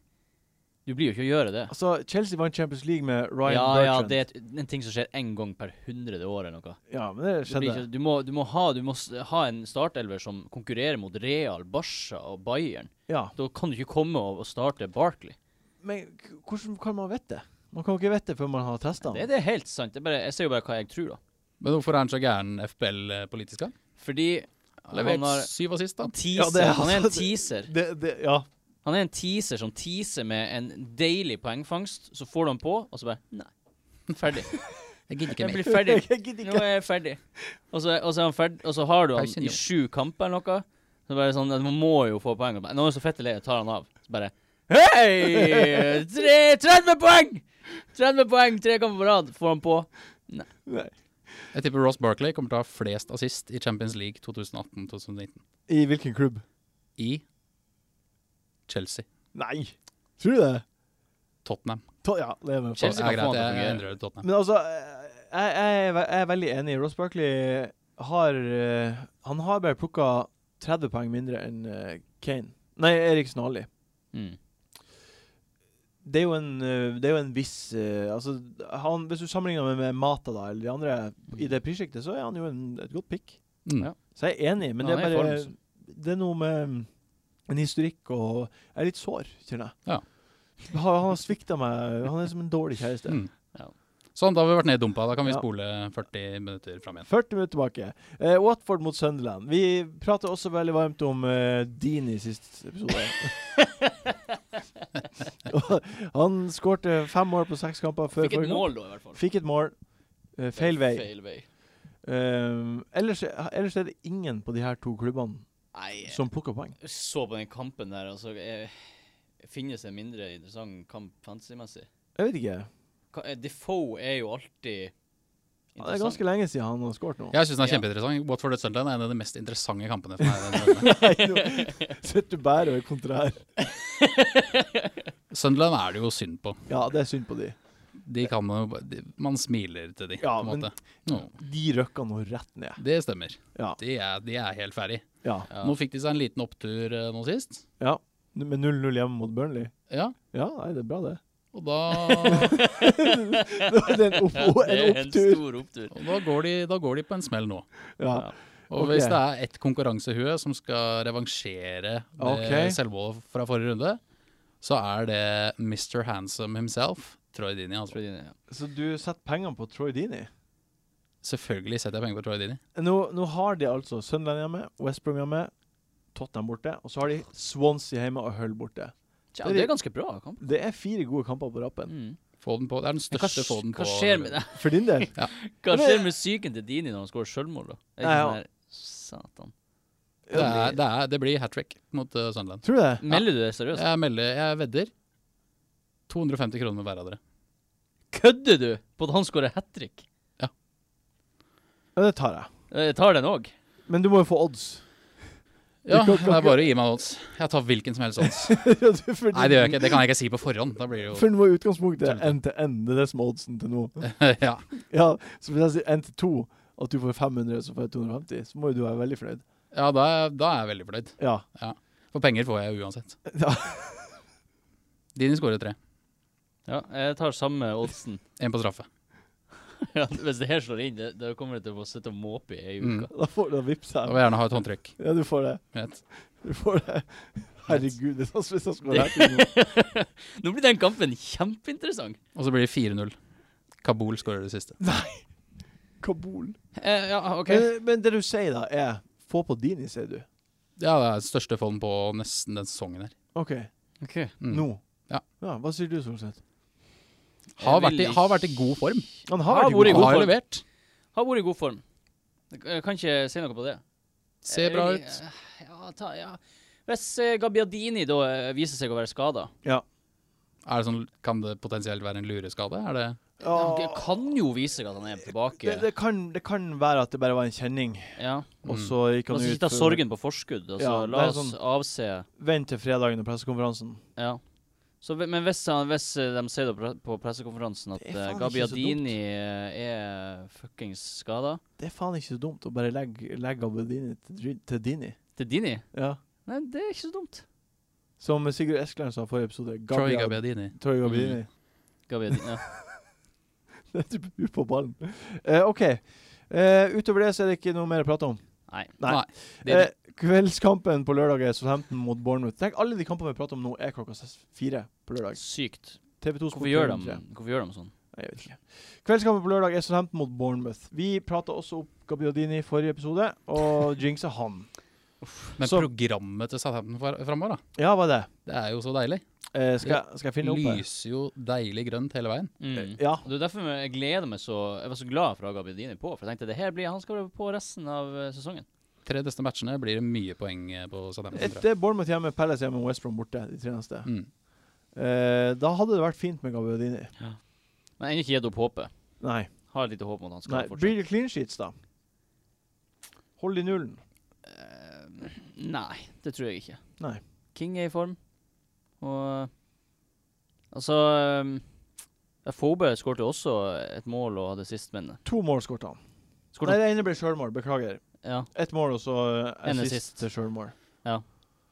Du blir jo ikke å gjøre det.
Altså, Chelsea vant Champions League med Ryan
ja, ja,
Bertrand.
det er et- en ting som skjer én gang per hundrede år eller noe.
ja, men det
Du, blir
skjedde.
ikke, du, må, du, må ha, du må s- ha en startelver som konkurrerer mot Real, Barca og Bayern.
Ja.
Da kan du ikke komme og og starte Barkley.
Men k- hvordan kan man vite det? Man kan jo ikke vite det før man har testa
Det,
han.
det er helt sant. Det er bare, jeg ser jo bare hva jeg tror, da.
Men hvorfor er han så gæren FBL-politisk?
Fordi
Levert
han har
syv assist, da.
teaser.
Ja, det er
han
*laughs*
er en
altså-
teaser.
Det, det, ja.
Han er en teaser som teaser med en deilig poengfangst. Så får du han på, og så bare Nei. Ferdig.
Jeg gidder
Jeg blir ferdig.
*laughs* Jeg gidder
Nå
ikke.
er jeg ferdig. Og så, og så, er han ferdig, og så har du han
Pausen,
i
jo.
sju kamper eller noe. Så bare sånn, Man må jo få poeng. Og bare, Nå er jeg så fett lei, jeg tar han av. Så bare Hei! Tre- 30 poeng! 30 poeng, tre kamper på rad. Får han på.
Nei.
Jeg tipper Ross Barkley kommer til å ha flest assist i Champions League 2018-2019.
I hvilken klubb?
I Chelsea.
Nei. Tror du det?
Tottenham.
Ta, ja, det er med på.
Chelsea
Ja,
kan få han til
greit,
å
jeg, jeg
fungere.
endrer det til Tottenham.
Men altså, eh, jeg, jeg, er ve- jeg er veldig enig. Ross Barkley har eh, Han har bare plukka 30 poeng mindre enn eh, Kane. Nei, Eriksen og Ali.
Mm.
Det er jo en, eh, det er jo en viss eh, Altså, han, hvis du sammenligner med, med Mata da, eller de andre i det prissjiktet, så er han jo en, et godt pick.
Mm.
Ja.
Så jeg er enig, men
Ja,
det er
han er i
bare
form,
Det er noe med mm, en historikk og Jeg er litt sår, kjenner jeg.
Ja.
Han, han har svikta meg. Han er som en dårlig kjæreste.
Mm.
Ja.
Sånn, da har vi vært ned i dumpa. Da kan vi
Ja.
spole 40 minutter fram igjen.
40 minutter tilbake. Eh, Watford mot Sunderland. Vi prater også veldig varmt om eh, Dean i siste episode. *laughs* Og han skårte fem mål på seks kamper før
Fikk et
forrige kamp.
mål, da, i hvert fall.
Fikk et mål. Eh, feil vei.
Feil vei.
Eh, ellers, ellers er det ingen på de her to klubbene
Nei,
som plukker poeng.
jeg så på den kampen der, og så eh, finnes en mindre interessant kamp fantasy-messig.
Jeg vet ikke.
Ka- eh, Defoe er jo alltid
Ja, Det er ganske lenge siden han har skåret nå.
Jeg syns den er
Ja.
kjempeinteressant. Watford Sunderland er en av de mest interessante kampene for meg.
*laughs*
denne runden.
*laughs* Sitter du bare og er kontrær.
Sunderland er det jo synd på.
Ja, det er synd på de.
De kan man, jo ba- de, man smiler til de,
Ja,
på en
men-
måte. Nå,
De røkker nå rett ned.
det stemmer.
Ja.
De er, de er helt ferdig.
ja.
Ja.
Nå fikk de seg en liten opptur eh, nå sist.
ja. Med 0-0 hjemme mot Burnley.
Ja,
Ja, nei, det er bra, det. *laughs*
og da,
det er en, opp
Det
en
er en
opptur.
stor opptur.
og da, går, de, da går de på en smell nå.
Ja.
Og
Ok.
hvis det er ett konkurransehue som skal revansjere det
Ok.
selvmålet fra forrige runde, så er det Mr. Handsome himself, Troy Dini. Altså.
Tror jeg det er, ja.
Så du setter pengene på Troy Dini?
Selvfølgelig setter jeg penger på Troy Dini.
Nå, nå har de altså Sunderland hjemme, West Brom hjemme, Tottenham borte, og så har de Swansea hjemme og Hull borte.
Tja, det er ganske bra kamp.
Det er fire gode kamper på rappen.
Mm.
Få den på. Det er den
Men Hva,
største få den på.
hva skjer med det?
For
*laughs*
din del.
*laughs* Hva
Men-
skjer med psyken til Dini når han skårer selvmål, da? Er det
Nei,
ikke
ja.
sånn der, Satan.
Det, er, det, er, det blir hat trick mot uh, Sunderland.
Tror du det?
Melder du det seriøst?
Jeg, melder, jeg vedder 250 kroner med hver av dere.
Kødder du på at han skårer hat trick?
Ja, det tar jeg.
Jeg tar den òg.
Men du må jo få odds. *laughs*
Ja,
Du kan-
det
kan
er
ikke-
bare å gi meg odds. Jeg tar hvilken som helst odds.
*laughs* Ja, du- for
Nei, det gjør jeg ikke. Det kan jeg ikke si på forhånd. Da blir det
For nå er utgangspunktet
Tullete.
én til én. Det er det som er oddsen til nå.
jo *laughs* Ja.
Ja, så hvis jeg sier én til to, at du får 500, så får jeg 250, så må jo du være veldig fornøyd.
Ja, da, er- da er jeg veldig fornøyd.
Ja.
For penger får jeg jo uansett.
ja.
Dini skårer tre.
Ja, jeg tar samme oddsen.
Én på straffe.
*laughs* Ja, Hvis det her slår inn, det- da kommer jeg til å sitte og måpe i ei
Mm.
uke.
Da får du da vips
Da
her.
vil jeg gjerne ha et håndtrykk.
Ja, du får det.
Vet.
Du får det. Herregud, det er sånn som hvis jeg skulle
Det-
vært i noe.
*laughs* Nå blir den kampen kjempeinteressant.
Og så blir det 4-0. Kabul skårer det siste.
Kabul.
Eh, ja, OK.
Men, men det du sier da, er få på Dini, sier du.
Ja, det er største fond på nesten den sesongen her.
OK,
Ok.
Mm.
nå.
Ja.
Hva sier du, Solseth?
Har
Jeg
vært, i,
vil
har vært i god form.
Han
Har vært i god
Har
form.
levert.
Har vært i god form. Jeg kan ikke si noe på det.
Ser bra
Jeg-
ut.
Ja, ta, ja. Hvis eh, Gabbiadini da eh, viser seg å være skada
Er det sånn, kan det potensielt være en lureskade? Er det
Han kan jo vise seg at han er tilbake.
Det, det, kan, det kan være at det bare var en kjenning,
ja.
og
Mm.
så gikk
La
han ut
oss Altså, ikke ta
for-
sorgen på forskudd. Altså,
Ja,
la
det
oss
er sånn-
avse
Vent til fredagen og pressekonferansen.
Ja. Så, hve- men hvis, han, hvis eh, de sier det på pre- på pressekonferansen at
Det er faen
eh,
ikke så
Gabbiadini eh, er fuckings skada
Det er faen ikke så dumt å bare legge, legge Abedini til, Dri- til Dini.
Til Dini?
Ja.
Nei, det er ikke så dumt.
Som Sigurd Eskeland sa i forrige episode
Troy
Gabbia-
Gabbiadini.
Troy Gabbiadini.
Gabbiadini, ja.
*laughs* Det er typ ut på ballen. Eh, OK. Eh, utover det så er det ikke noe mer å prate om.
Nei.
Nei.
Nei. Det er
Eh, kveldskampen på lørdag er Southampton mot Bournemouth. Tenk, alle de kampene vi prater om nå, er klokka s- fire på lørdag.
Sykt.
TV2
Hvorfor gjør, de, hvorfor gjør de sånn?
Nei, jeg vet ikke. Kveldskampen på lørdag er Southampton mot Bournemouth. Vi prata også opp Gabbiadini i forrige episode, og jinxa han.
Men
Så-
programmet til Southampton framover, da.
Ja, hva er det?
Det er jo så deilig.
Eh, skal, jeg- skal jeg finne det opp her?
Lyser jo deilig grønt hele veien.
Mm.
Eh, Ja.
Og Det er derfor jeg gleder meg så Jeg var så glad for å ha Gabbiadini på. For jeg tenkte det her blir han skal være på resten av eh, sesongen.
Tre neste matchene blir det mye poeng eh, på Southampton. tror jeg.
Et, eh, Bournemouth hjemme, Palace hjemme og West Brom borte, de tre neste.
Mm.
Eh, da hadde det vært fint med Gabbiadini.
Men jeg har ikke gitt opp håpet.
Nei.
Har et lite håp om at han skal
Nei.
fortsette.
Blir det clean sheets, da? Hold i nullen.
Eh, nei, det tror jeg ikke.
Nei.
King er i form. Og altså um, Fobe skårte også et mål og hadde sistmennet.
To mål skåret han.
Skårte
Nei,
han-
det ene ble sjølmål. Beklager.
Ja.
Ett mål, og så eh,
En
assist
assist.
til sjølmål.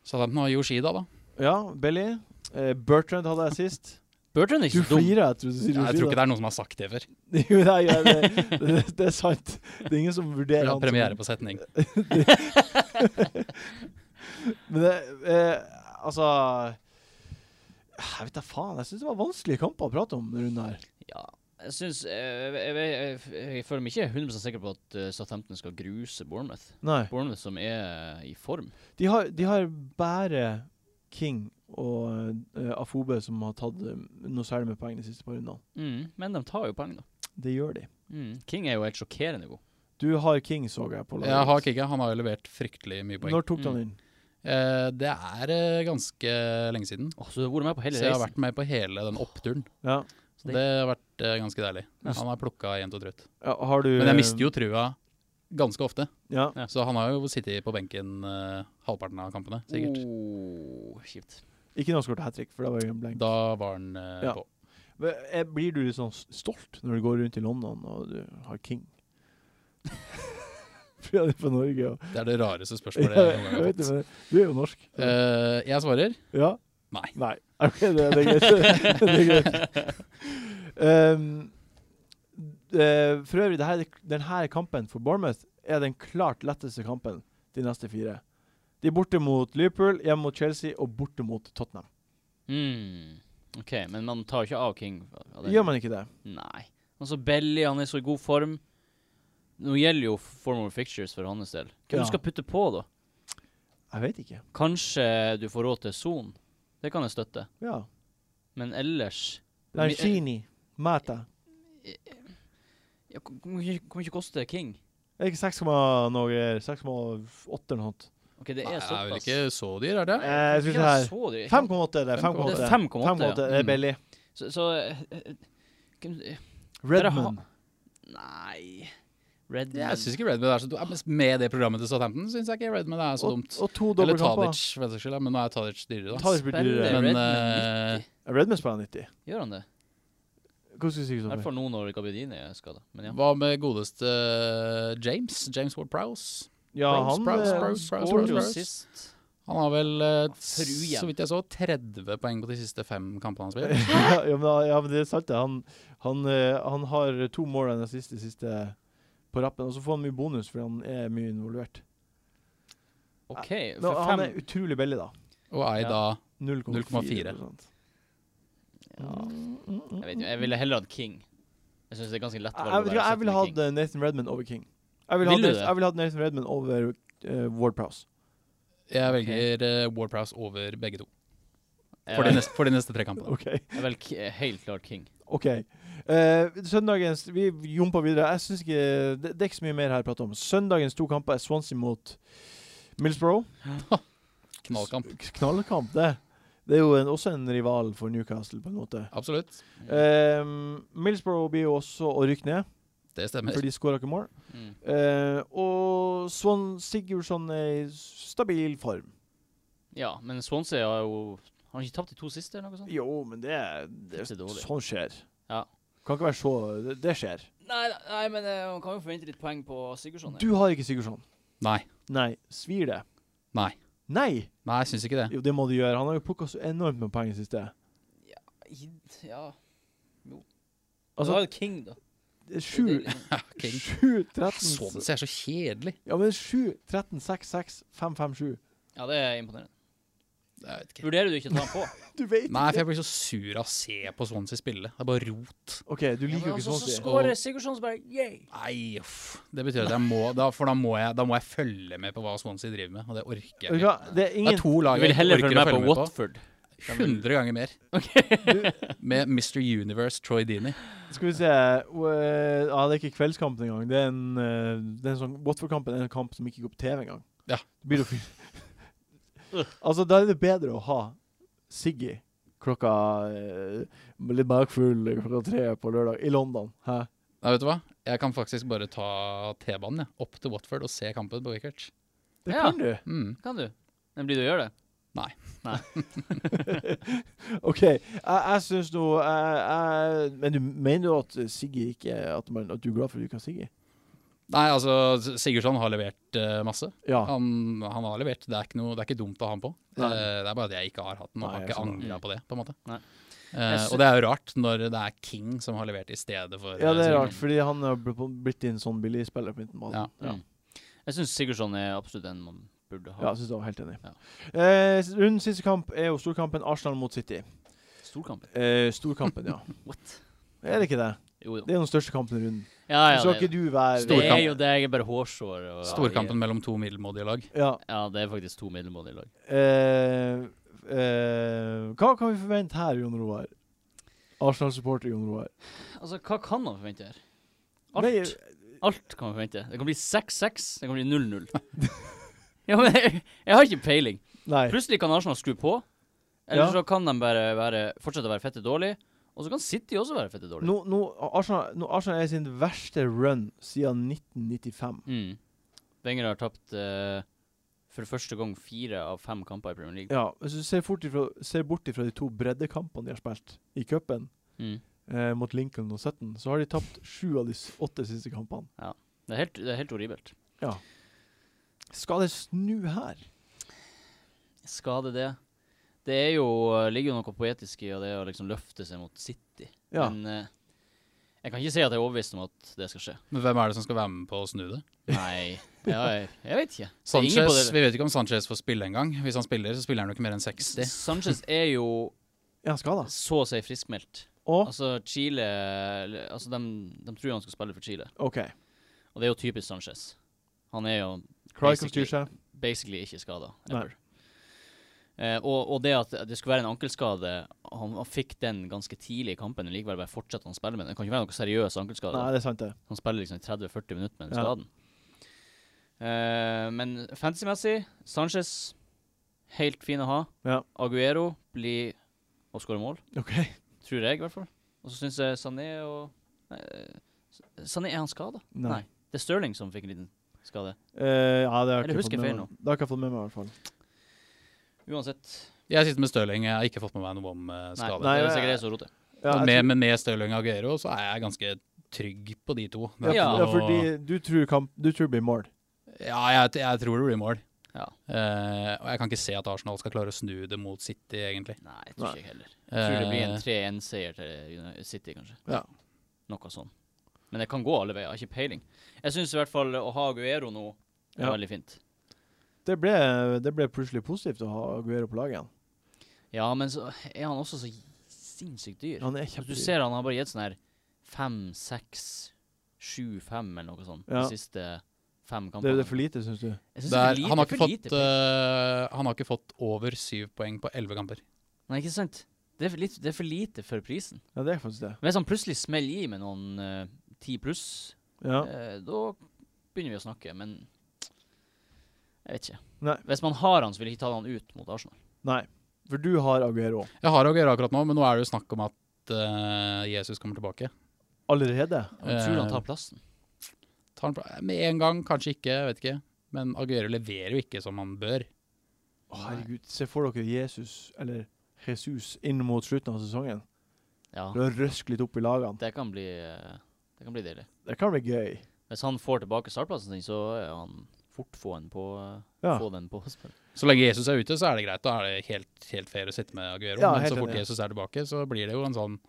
Southampton har Yoshida, da.
Ja, Belly. Eh, Bertrand hadde assist.
Bertrand er
Du
ikke så dum.
flirer, jeg tror du sier
Ja, jeg tror ikke
det.
det er noen som har sagt det før.
*laughs* jo, nei, ja, det, det, det er sant. Det er ingen som
For
vurderer
det
han
er
som-
premiere på setning.
Men det, eh, altså Jeg vet da faen. Jeg syns det var vanskelige kamper å prate om denne runden her.
Ja. Jeg syns jeg, jeg, jeg, jeg, jeg føler meg ikke 100 sikker på at eh, Southampton skal gruse Bournemouth.
Nei.
Bournemouth som er eh, i form.
De har, de har bare King og eh, Afobe som har tatt eh, noe særlig med poeng de siste par rundene.
Mm, men de tar jo poeng, da.
Det gjør de.
King er jo helt sjokkerende god.
Du har King, så jeg på
Jeg har Kikka. Han har jo levert fryktelig mye poeng. Mm.
Når tok du han inn?
Eh, det er eh, ganske lenge siden.
Åh, så du har vært med på hele
Så jeg har
reisen.
vært med på hele den oppturen.
Ja.
Så det har vært eh, ganske deilig. Han har plukka jevnt og trutt.
ja har du
Men jeg mister jo trua ganske ofte.
Ja.
Ja.
Så han har jo sittet på benken eh, halvparten av kampene,
Mm.
sikkert.
Åh, kjipt.
Ikke når han skåret hat trick, for da var jeg en blank.
Da var han eh,
Ja.
på.
Men, eh, Blir du litt sånn s- stolt når du går rundt i London og du har King? *laughs* Fordi han er fra Norge og
Det er det rareste spørsmålet jeg
*laughs*
noen gang
Jeg
har
vet det,
fått.
men Du er jo norsk.
Eh, jeg svarer
Ja?
nei.
Nei. *laughs* OK, det, det er greit. det er greit. Um, eh, for øvrig, det her, den her kampen for Bournemouth er den klart letteste kampen de neste fire. De er borte mot Liverpool, hjemme mot Chelsea og borte mot Tottenham.
Mm. OK, men man tar ikke av King. av den-
Gjør man ikke det?
Nei. Altså, Belly han er så i god form. Nå gjelder jo form over fixtures for hans del. Hvem
Ja.
du skal putte på, da?
Jeg vet ikke.
Kanskje du får råd til Son. Det kan jeg støtte.
Ja.
Men ellers
Lanchini, Mata.
Ja, k- Kommer ikke, kommer ikke koste King.
Det er ikke 6, noe greier. 6,8 eller noe sånt.
OK, det
Nei,
er
det er vel
såpass.
ikke så dyr, er det?
Eh, jeg skal se her.
5,8.
5,8 er det. 5,8
Det er 5,8, ja.
5,8, Det er
Mm.
billig.
Så, så eh, eh, hvem- eh,
Redman.
Nei Redman
Jeg syns ikke Redman er så dumt. Med det programmet til Southampton syns jeg ikke Redman er så
Og,
dumt.
og to
Eller
dobbeltkamper.
Tadic, for den saks skyld. ja, Men nå er Tadic dyrere, da.
Tadic blir dyrere.
Spiller Redman
Men, eh,
90.
Redman spiller 90.
Gjør han det?
Hvordan skal du si
I
det?
hvert
Sondre?
fall nå når Gabbiadini er skada. Men ja.
Hva med godeste eh, James? James Ward-Prowse?
Ja,
Prowse,
han
Prowse,
eh,
Prowse, Prowse,
scorer
Prowse,
jo
Skåret jo
Prowse.
sist.
sist.
Han har vel, eh,
Fruen.
så vidt jeg så, 30 poeng på de siste fem
*laughs*
kampene han
*laughs*
spiller.
ja, ja, men, da- ja, men det er sant, det. Han, han, eh, han har to mål enn siste, siste på rappen. Og så får han mye bonus fordi han er mye involvert.
OK,
Men
for
han
fem
er utrolig billig, da.
Og er
Ja.
da
0,4
ja. Jeg vet jo, jeg ville heller hatt King. Jeg syns det er ganske lett
Jeg, jeg, vet ikke, jeg ville hatt eh, Nathan Redman over King. Jeg ville hatt
Ville du
Nathan,
det?
jeg ville hatt Nathan Redman over eh, Ward Prowse.
Jeg velger eh, Ward-Prowse over begge to. For de
Jeg,
neste, for de neste tre kampene.
OK.
jeg velger Ki- helt klart King.
Ok. Eh, søndagens Vi jumper videre. Jeg synes ikke det, det er ikke så mye mer her å prate om. Søndagens to kamper er Swansea mot Millsborough.
Knallkamp.
K- Knallkamp, det. Det er jo en, også en rival for Newcastle, på en måte.
Absolutt.
Mm.
Eh, Millsborough blir jo også å rykke ned,
Det stemmer.
for de skåra ikke mål.
Mm.
Eh, og Swan Sigurdsson er i stabil form.
Ja, men Swansea har jo Har han ikke tapt de to siste, eller noe sånt?
Jo, men det, er- det,
Ikke
er-
dårlig.
Sånn skjer.
Ja.
Kan ikke være så Det, det skjer.
Nei, nei men eh, man kan jo forvente litt poeng på Sigurdsson.
Du har ikke Sigurdsson.
Nei.
Nei. Svir det?
Nei.
Nei!
Nei, jeg syns ikke det.
Jo, det må du gjøre. Han har jo plukka så enormt med poeng i det siste.
I- Ja Du
Altså,
har jo King, da.
det er
Det er
sju
litt-
King.
sju, 13
Sånn ser så kjedelig.
Ja, men 7, 13, 6, 6, 5, 5, 7.
Ja, det er imponerende.
Jeg vet ikke.
Vurderer du ikke å ta han på?
Du vet
Nei, for jeg blir så sur av å se på Swansea spille. Det er bare rot.
OK, du liker jo ikke sånn
Så
altså,
sted.
skårer Sigurdsson, så bare yay!
Nei, uff. Det betyr at jeg må da, For da må jeg, da må jeg følge med på hva Swansea driver med, og det orker jeg
Det
ikke.
er
Det
ingen
er to
Du
lag
vil
jeg
heller
ikke
følge med
orker å
på
følge med på.
Watford.
100 ganger mer. Med Mr. Universe Troy Dini.
Skal vi se uh, Ja, det er ikke kveldskampen engang. Det er en, eh, det er en sånn Watford-kampen er en kamp som ikke går på TV engang.
Ja.
Det blir jo fy- *laughs* Altså, da er det bedre å ha Siggy klokka eh, litt bakfull klokka tre på lørdag i London. Hæ?
Nei, vet du hva? Jeg kan faktisk bare ta T-banen jeg, opp til Watford og se kampen på Wickert.
Det
Ja.
kan du.
Mm.
*laughs* Kan du? Men blir du å gjøre det?
*laughs* OK. Jeg, jeg syns nå jeg, jeg, Men du mener jo at Siggy ikke At, man, at du er glad for at du ikke har Siggy?
Nei, altså, S- Sigurdsson har levert eh, masse.
Ja.
Han, han har levert. Det er, ikke noe, det er ikke dumt å ha han på.
Nei.
Eh, det er bare at jeg ikke har hatt den, og
Nei,
har
jeg
ikke
skjønner. Mm.
angra på det. på en måte.
Nei.
Eh,
Jeg sy-
og det er jo rart når det er King som har levert i stedet for
ja, det er
eh, Sigurdsson.
rart, fordi han har blitt en sånn billig spiller på midten.
Ja.
Ja.
Mm. Jeg syns Sigurdsson er absolutt en man burde
Ja, altså-
ha.
jeg synes det var helt enig.
Ja.
Eh, s- rundens siste kamp er jo storkampen Arsenal mot City.
Storkamp.
Eh, storkampen,
*laughs*
ja.
What?
Er det ikke det?
Jo, jo.
Det er den største kampen i runden.
Ja, ja,
Så skal
det, er
ikke
det.
du være
det
Storkamp.
er jo det. Jeg er bare hårsår. Og,
Storkampen mellom to middelmådige lag.
Ja.
Ja, det er faktisk to middelmådige lag.
Eh, eh, hva kan vi forvente her, Jon Roar? Arsenal-supporter Jon Roar.
Altså, hva kan man forvente her? Alt.
Nei,
Alt kan man forvente. Det kan bli 6-6, det kan bli 0-0. *laughs* ja, men jeg, jeg har ikke peiling.
Nei.
Plutselig kan Arsenal skru på. Eller
Ja.
så kan de bare være, fortsette å være fette dårlig. Og så kan City også være fette dårlig.
Nå, nå, Arsenal, nå Arsenal er i sin verste run siden 1995.
Mm. Wenger har tapt eh, for første gang fire av fem kamper i Premier League.
Ja, Hvis du ser, fort ifra, ser bort ifra de to breddekampene de har spilt i cupen,
Mm.
eh, mot Lincoln og 17, så har de tapt sju av de s- åtte siste kampene.
Det, er helt, det er helt horribelt.
Skal det snu her?
Skade det. Det er jo, ligger jo noe poetisk i og det å liksom løfte seg mot City.
Ja.
Men eh, jeg kan ikke si at jeg er overbevist om at det skal skje.
Men hvem er det som skal være med på å snu det?
*laughs*
Nei, ja, jeg, jeg vet ikke. Det er ingen på
Sanchez,
det-
Vi vet ikke om Sanchez får spille engang. Hvis han spiller, så spiller han jo ikke mer enn 60.
Sanchez er jo
Ja, skal da.
så å si friskmeldt.
Og
Altså, Chile Altså, de, tror han skal spille for Chile.
OK.
Og det er jo typisk Sanchez. Han er jo
Crycon
Basically.
styrer seg.
basically ikke skada.
Nei.
Eh, og, og det at det skulle være en ankelskade Han, han fikk den ganske tidlig i kampen, men likevel bare fortsatte han å spille med den. Det kan ikke være noe seriøs ankelskade.
Nei, det er sant, det.
Han spiller liksom i 30-40 minutter med den
Ja.
skaden. Eh, men fantasymessig, Sanchez helt fin å ha.
Ja.
Aguero blir å skåre mål,
OK.
tror jeg i hvert fall. Og så syns jeg Sané og nei, eh, Sané, er han skada?
Nei.
Nei. Det er Stirling som fikk en liten skade.
Eh, ja, det har jeg
Eller
ikke
husker
fått med
feil
meg. Det har jeg ikke fått med meg, i hvert fall.
Uansett.
Jeg sitter med Stirling. Jeg har ikke fått med meg noe om eh,
Nei,
skade.
Nei,
det er
jeg-
sikkert jeg som roter.
Ja, jeg
men, med, men med Stirling og Aguero så er jeg ganske trygg på de to.
tror-
Det
ja,
er
Ja.
ikke
ja,
noe-
fordi du tror, kamp, du tror det blir mål.
ja jeg, jeg tror det blir mål.
Ja.
Eh, og jeg kan ikke se at Arsenal skal klare å snu det mot City, egentlig.
Nei,
Nei.
jeg tror ikke jeg heller. Jeg tror det blir en
Eh,
3-1-seier til Uni- City, kanskje.
Ja.
Noe sånn. Men det kan gå alle veier, jeg har ikke peiling. Jeg syns i hvert fall å ha Aguero nå er
Ja.
veldig fint.
Det ble, det ble plutselig positivt å ha Aguero på laget igjen.
Ja, men så er han også så sinnssykt dyr.
Han er
du
kjempedyr.
ser han har bare gitt sånn her fem, seks, sju, fem eller noe sånt
Ja.
de siste fem
Det,
kampene.
det er for lite, syns du?
Jeg synes
det
det er
er,
for lite,
han, har ikke
for
fått,
lite.
eh, han har ikke fått over syv poeng på elleve kamper.
Nei, ikke sant? Det er, for litt, det er for lite for prisen.
Ja, det er faktisk det.
Hvis han plutselig smeller i med noen eh, ti pluss,
Ja.
Eh, da begynner vi å snakke, men jeg vet ikke.
Nei.
Hvis man har han, så vil jeg ikke ta han ut mot Arsenal.
Nei. For du har Aguero
Jeg har Aguero akkurat nå, men nå er det jo snakk om at eh, Jesus kommer tilbake.
allerede.
Jeg tror han
Eh,
tar plassen.
Tar han pla- med en gang, kanskje ikke, jeg vet ikke. Men Aguero leverer jo ikke som han bør.
Å, herregud, se for dere Jesus, eller Jesus, inn mot slutten av sesongen.
Ja,
For å røske litt opp i lagene.
det kan bli eh, Det kan bli deilig.
Det kan bli gøy.
Hvis han får tilbake startplassen sin, så er han fort få en på eh,
Ja.
Få den på spill.
Så lenge Jesus er ute, så er det greit. Da er det helt, helt fair å sitte med Aguero.
Ja,
men
helt
så fort
enig.
Jesus er tilbake, så blir det jo en sånn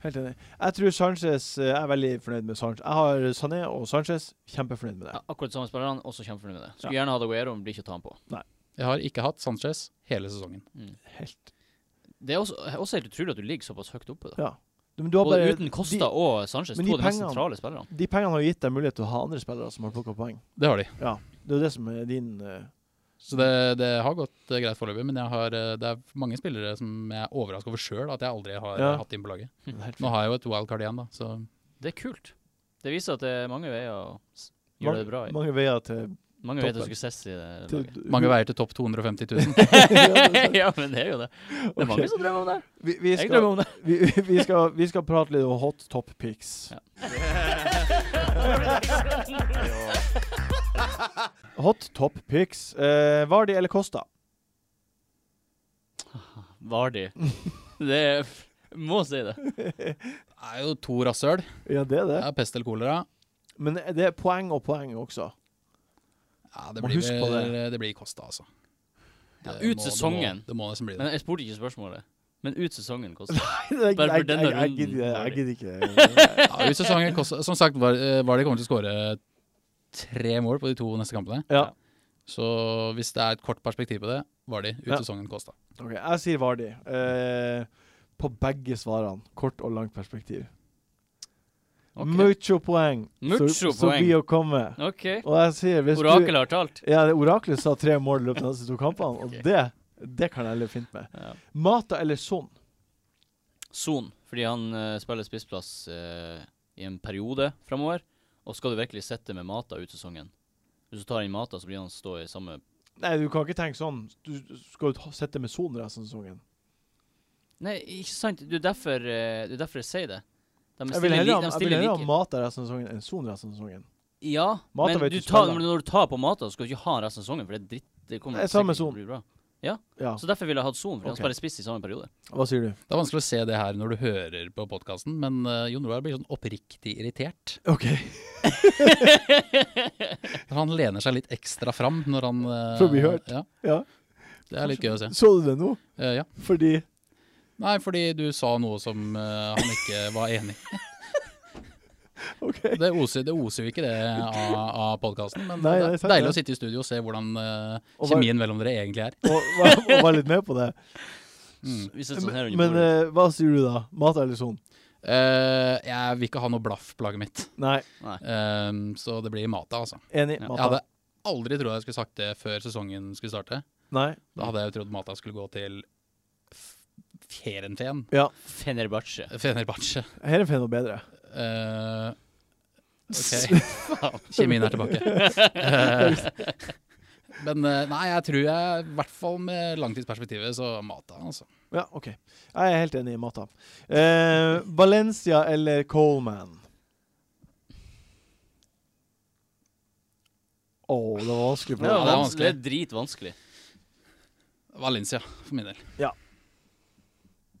Helt enig. Jeg tror Sanchez eh, Jeg er veldig fornøyd med Sanchez. Jeg har Sané og Sanchez. Kjempefornøyd med det.
Ja, akkurat samme spiller han, også kjempefornøyd med det. Skulle
Ja.
gjerne hatt Aguero, men blir ikke å ta han på.
Jeg har ikke hatt Sanchez hele sesongen.
Mm.
Helt.
Det er også, også helt utrolig at du ligger såpass høyt oppe. da
Ja. Du, men du har
Både
bare,
uten Costa
de,
og Sanchez, to
men de
av de mest
pengene-
sentrale spillerne.
de pengene har jo gitt deg mulighet til å ha andre spillere som har plukka poeng.
Det har de.
Ja. Det er jo det som er din eh,
Så det, det har gått eh, greit foreløpig, men jeg har, eh, det er mange spillere som jeg er overraska over sjøl at jeg aldri har
Ja.
eh, hatt inn på laget.
det er helt
Nå har jeg jo et wildcard igjen, da, så
Det er kult. Det viser at det er mange veier å s-
Mange-
gjøre det bra i.
Mange veier til,
Mange veier til å
toppen.
skulle ses i det
til
laget.
mange
*laughs*
veier til topp 250 000.
*laughs* ja, men det er jo det. Det er mange som drømmer om det.
vi, vi,
Jeg
skal,
drømmer om det.
vi, *laughs* vi, skal, vi skal prate litt om hot top pics.
Ja.
Hot top pics. Eh, Vardi eller Costa?
Vardi. *laughs* Det er f- Må si det.
Det er jo to rasshøl.
Ja, det er
Det
det.
er pest eller kolera.
Men det er poeng og poeng også. *laughs*
Ja, det
Må
blir,
huske på
vel- det. blir Kosta, altså.
Ja,
Det
ut
må-
sesongen.
Det må, det må nesten bli det.
Men jeg spurte ikke spørsmålet. Men ut sesongen koster
Jeg, jeg,
Bare for
jeg,
denne
jeg, jeg,
runden,
gidder- jeg
Vardy.
gidder
*laughs*
ikke.
Ja, ut sesongen Kosta, som sagt var, eh, var de kommer til å skåre tre mål på de to neste kampene.
Ja.
Så hvis det er et kort perspektiv på det, var de. Ut
Ja.
sesongen Kosta.
Ok, jeg sier Vardi. Eh, på begge svarene. Kort og langt perspektiv.
OK.
Mucho poeng.
Mucho
så, Så
poeng.
blir å komme.
Ok.
Og jeg sier hvis
Orakelet har talt.
du Ja, det- oraklet sa tre mål i løpet av de neste to kampene, og
Ok.
det, det kan jeg leve fint med.
Ja.
Mata eller Son?
Son, fordi han eh, spiller spissplass eh, i en periode framover. Og skal du virkelig sitte med Mata ut sesongen? Hvis du tar inn Mata, så blir han stå i samme
Nei, du kan ikke tenke sånn. Du du skal jo ta- sitte med Son resten av sesongen.
Nei, ikke sant? Det er derfor, eh, det er derfor jeg sier det. De
Jeg vil
stiller, li,
heller
de
ha- jeg vil
stiller
heller ha
like.
Mata resten av sesongen enn Son resten av sesongen.
Ja,
Mata
men
vet
du
du
tar,
spiller.
men når du tar på Mata, så skal du ikke ha han resten av sesongen, for det er dritt. Det kommer
Jeg tar med
sikkert ikke
Son.
til å bli bra.
Ja,
Så derfor ville jeg hatt Son, for han
Ok.
spiller spiss i samme periode.
hva sier du?
Det er vanskelig å se det her når du hører på podkasten, men eh, Jon Roar blir sånn oppriktig irritert.
OK.
For Han lener seg litt ekstra fram når han eh,
For å bli hørt.
Ja,
Ja.
det er litt gøy å se.
Så du det nå?
Eh, ja.
Fordi
Nei, fordi du sa noe som eh, han ikke var enig i.
*laughs* OK.
Det oser, det oser jo ikke det av, av podkasten, men
Nei,
det
nei,
er
sant,
deilig
det.
å sitte i studio og se hvordan eh,
Og hva-
kjemien mellom dere egentlig er.
Og, og, og var litt med på det.
Mm.
Vi sitter sånn her under
Men
bordet.
eh, hva sier du da? Mata eller Son?
Eh, jeg vil ikke ha noe blaff på laget mitt,
Nei,
Eh, så det blir Mata, altså.
enig.
Ja.
Jeg
Mata.
hadde aldri trodd jeg skulle sagt det før sesongen skulle starte.
Nei.
Da hadde jeg jo trodd Mata skulle gå til F- Fjerenfen.
Fenerbahçe.
Fenerbahçe.
Her er Feno bedre.
Eh, ok, kjemien er tilbake. Eh, men eh, nei, jeg tror jeg, i hvert fall med langtidsperspektivet, så Mata, altså.
Ja, OK. Jeg er helt enig i Mata. Eh, Valencia eller Coleman? Å, det var vanskelig.
Det,
For
er
Ja, det er
vans- det
vanskelig.
er dritvanskelig.
Valencia, for min del.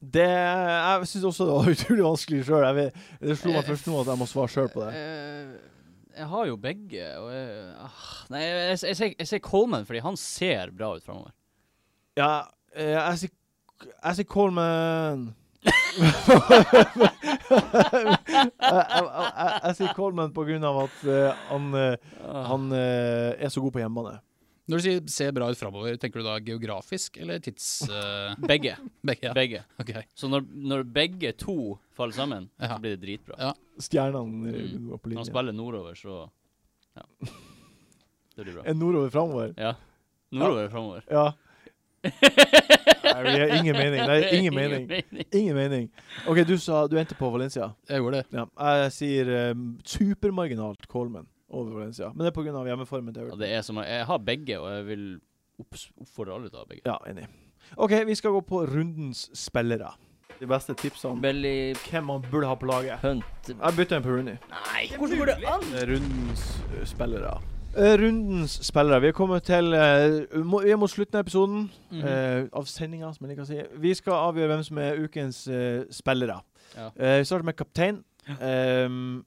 Det, jeg syns også det var *laughs* utrolig vanskelig sjøl. Det slo meg først nå at jeg må svare sjøl på det.
Eh, jeg har jo begge, og jeg ah, Nei, jeg, jeg, jeg, sier- jeg sier Coleman fordi han ser bra ut framover.
Ja, eh, jeg sier jeg sier Coleman.
*laughs*
jeg, jeg, jeg, jeg sier Coleman på grunn av at eh, han, eh, han eh, er så god på hjemmebane.
Når du sier ser bra ut framover, tenker du da geografisk eller tids... eh,
Begge.
begge, ja.
Begge.
Ok.
Så når, når begge to faller sammen,
Ja.
så blir det dritbra.
Ja.
Stjernene eh,
Mm.
går på
Når han
linje.
spiller nordover, så Ja. Det blir
*laughs*
bra.
Er nordover framover?
Ja. Nordover framover. *laughs*
Ja. Nei, det gir ingen mening. Det gir ingen mening. Ingen mening. OK, du sa du endte på Valencia.
Jeg gjorde det.
Ja, jeg sier um, supermarginalt Coleman over Valencia. Men det er pga. hjemmeformen til
*laughs* Ja,
Everton.
det er som, jeg har begge, og jeg vil opps- oppfordre alle til å ha begge.
Ja, enig. OK, vi skal gå på rundens spillere. De beste tipsene om
Belly
hvem man burde ha på laget.
Hunt
Jeg bytter en på Rooney.
Nei, hvordan går det an?
Rundens eh, spillere. Eh, Rundens spillere. Vi er kommet til eh, må- Vi er mot slutten av episoden.
Mhm.
eh, av sendinga, som jeg liker å si. Vi skal avgjøre hvem som er ukens eh, spillere.
Ja.
Eh, vi starter med kaptein. Ehm,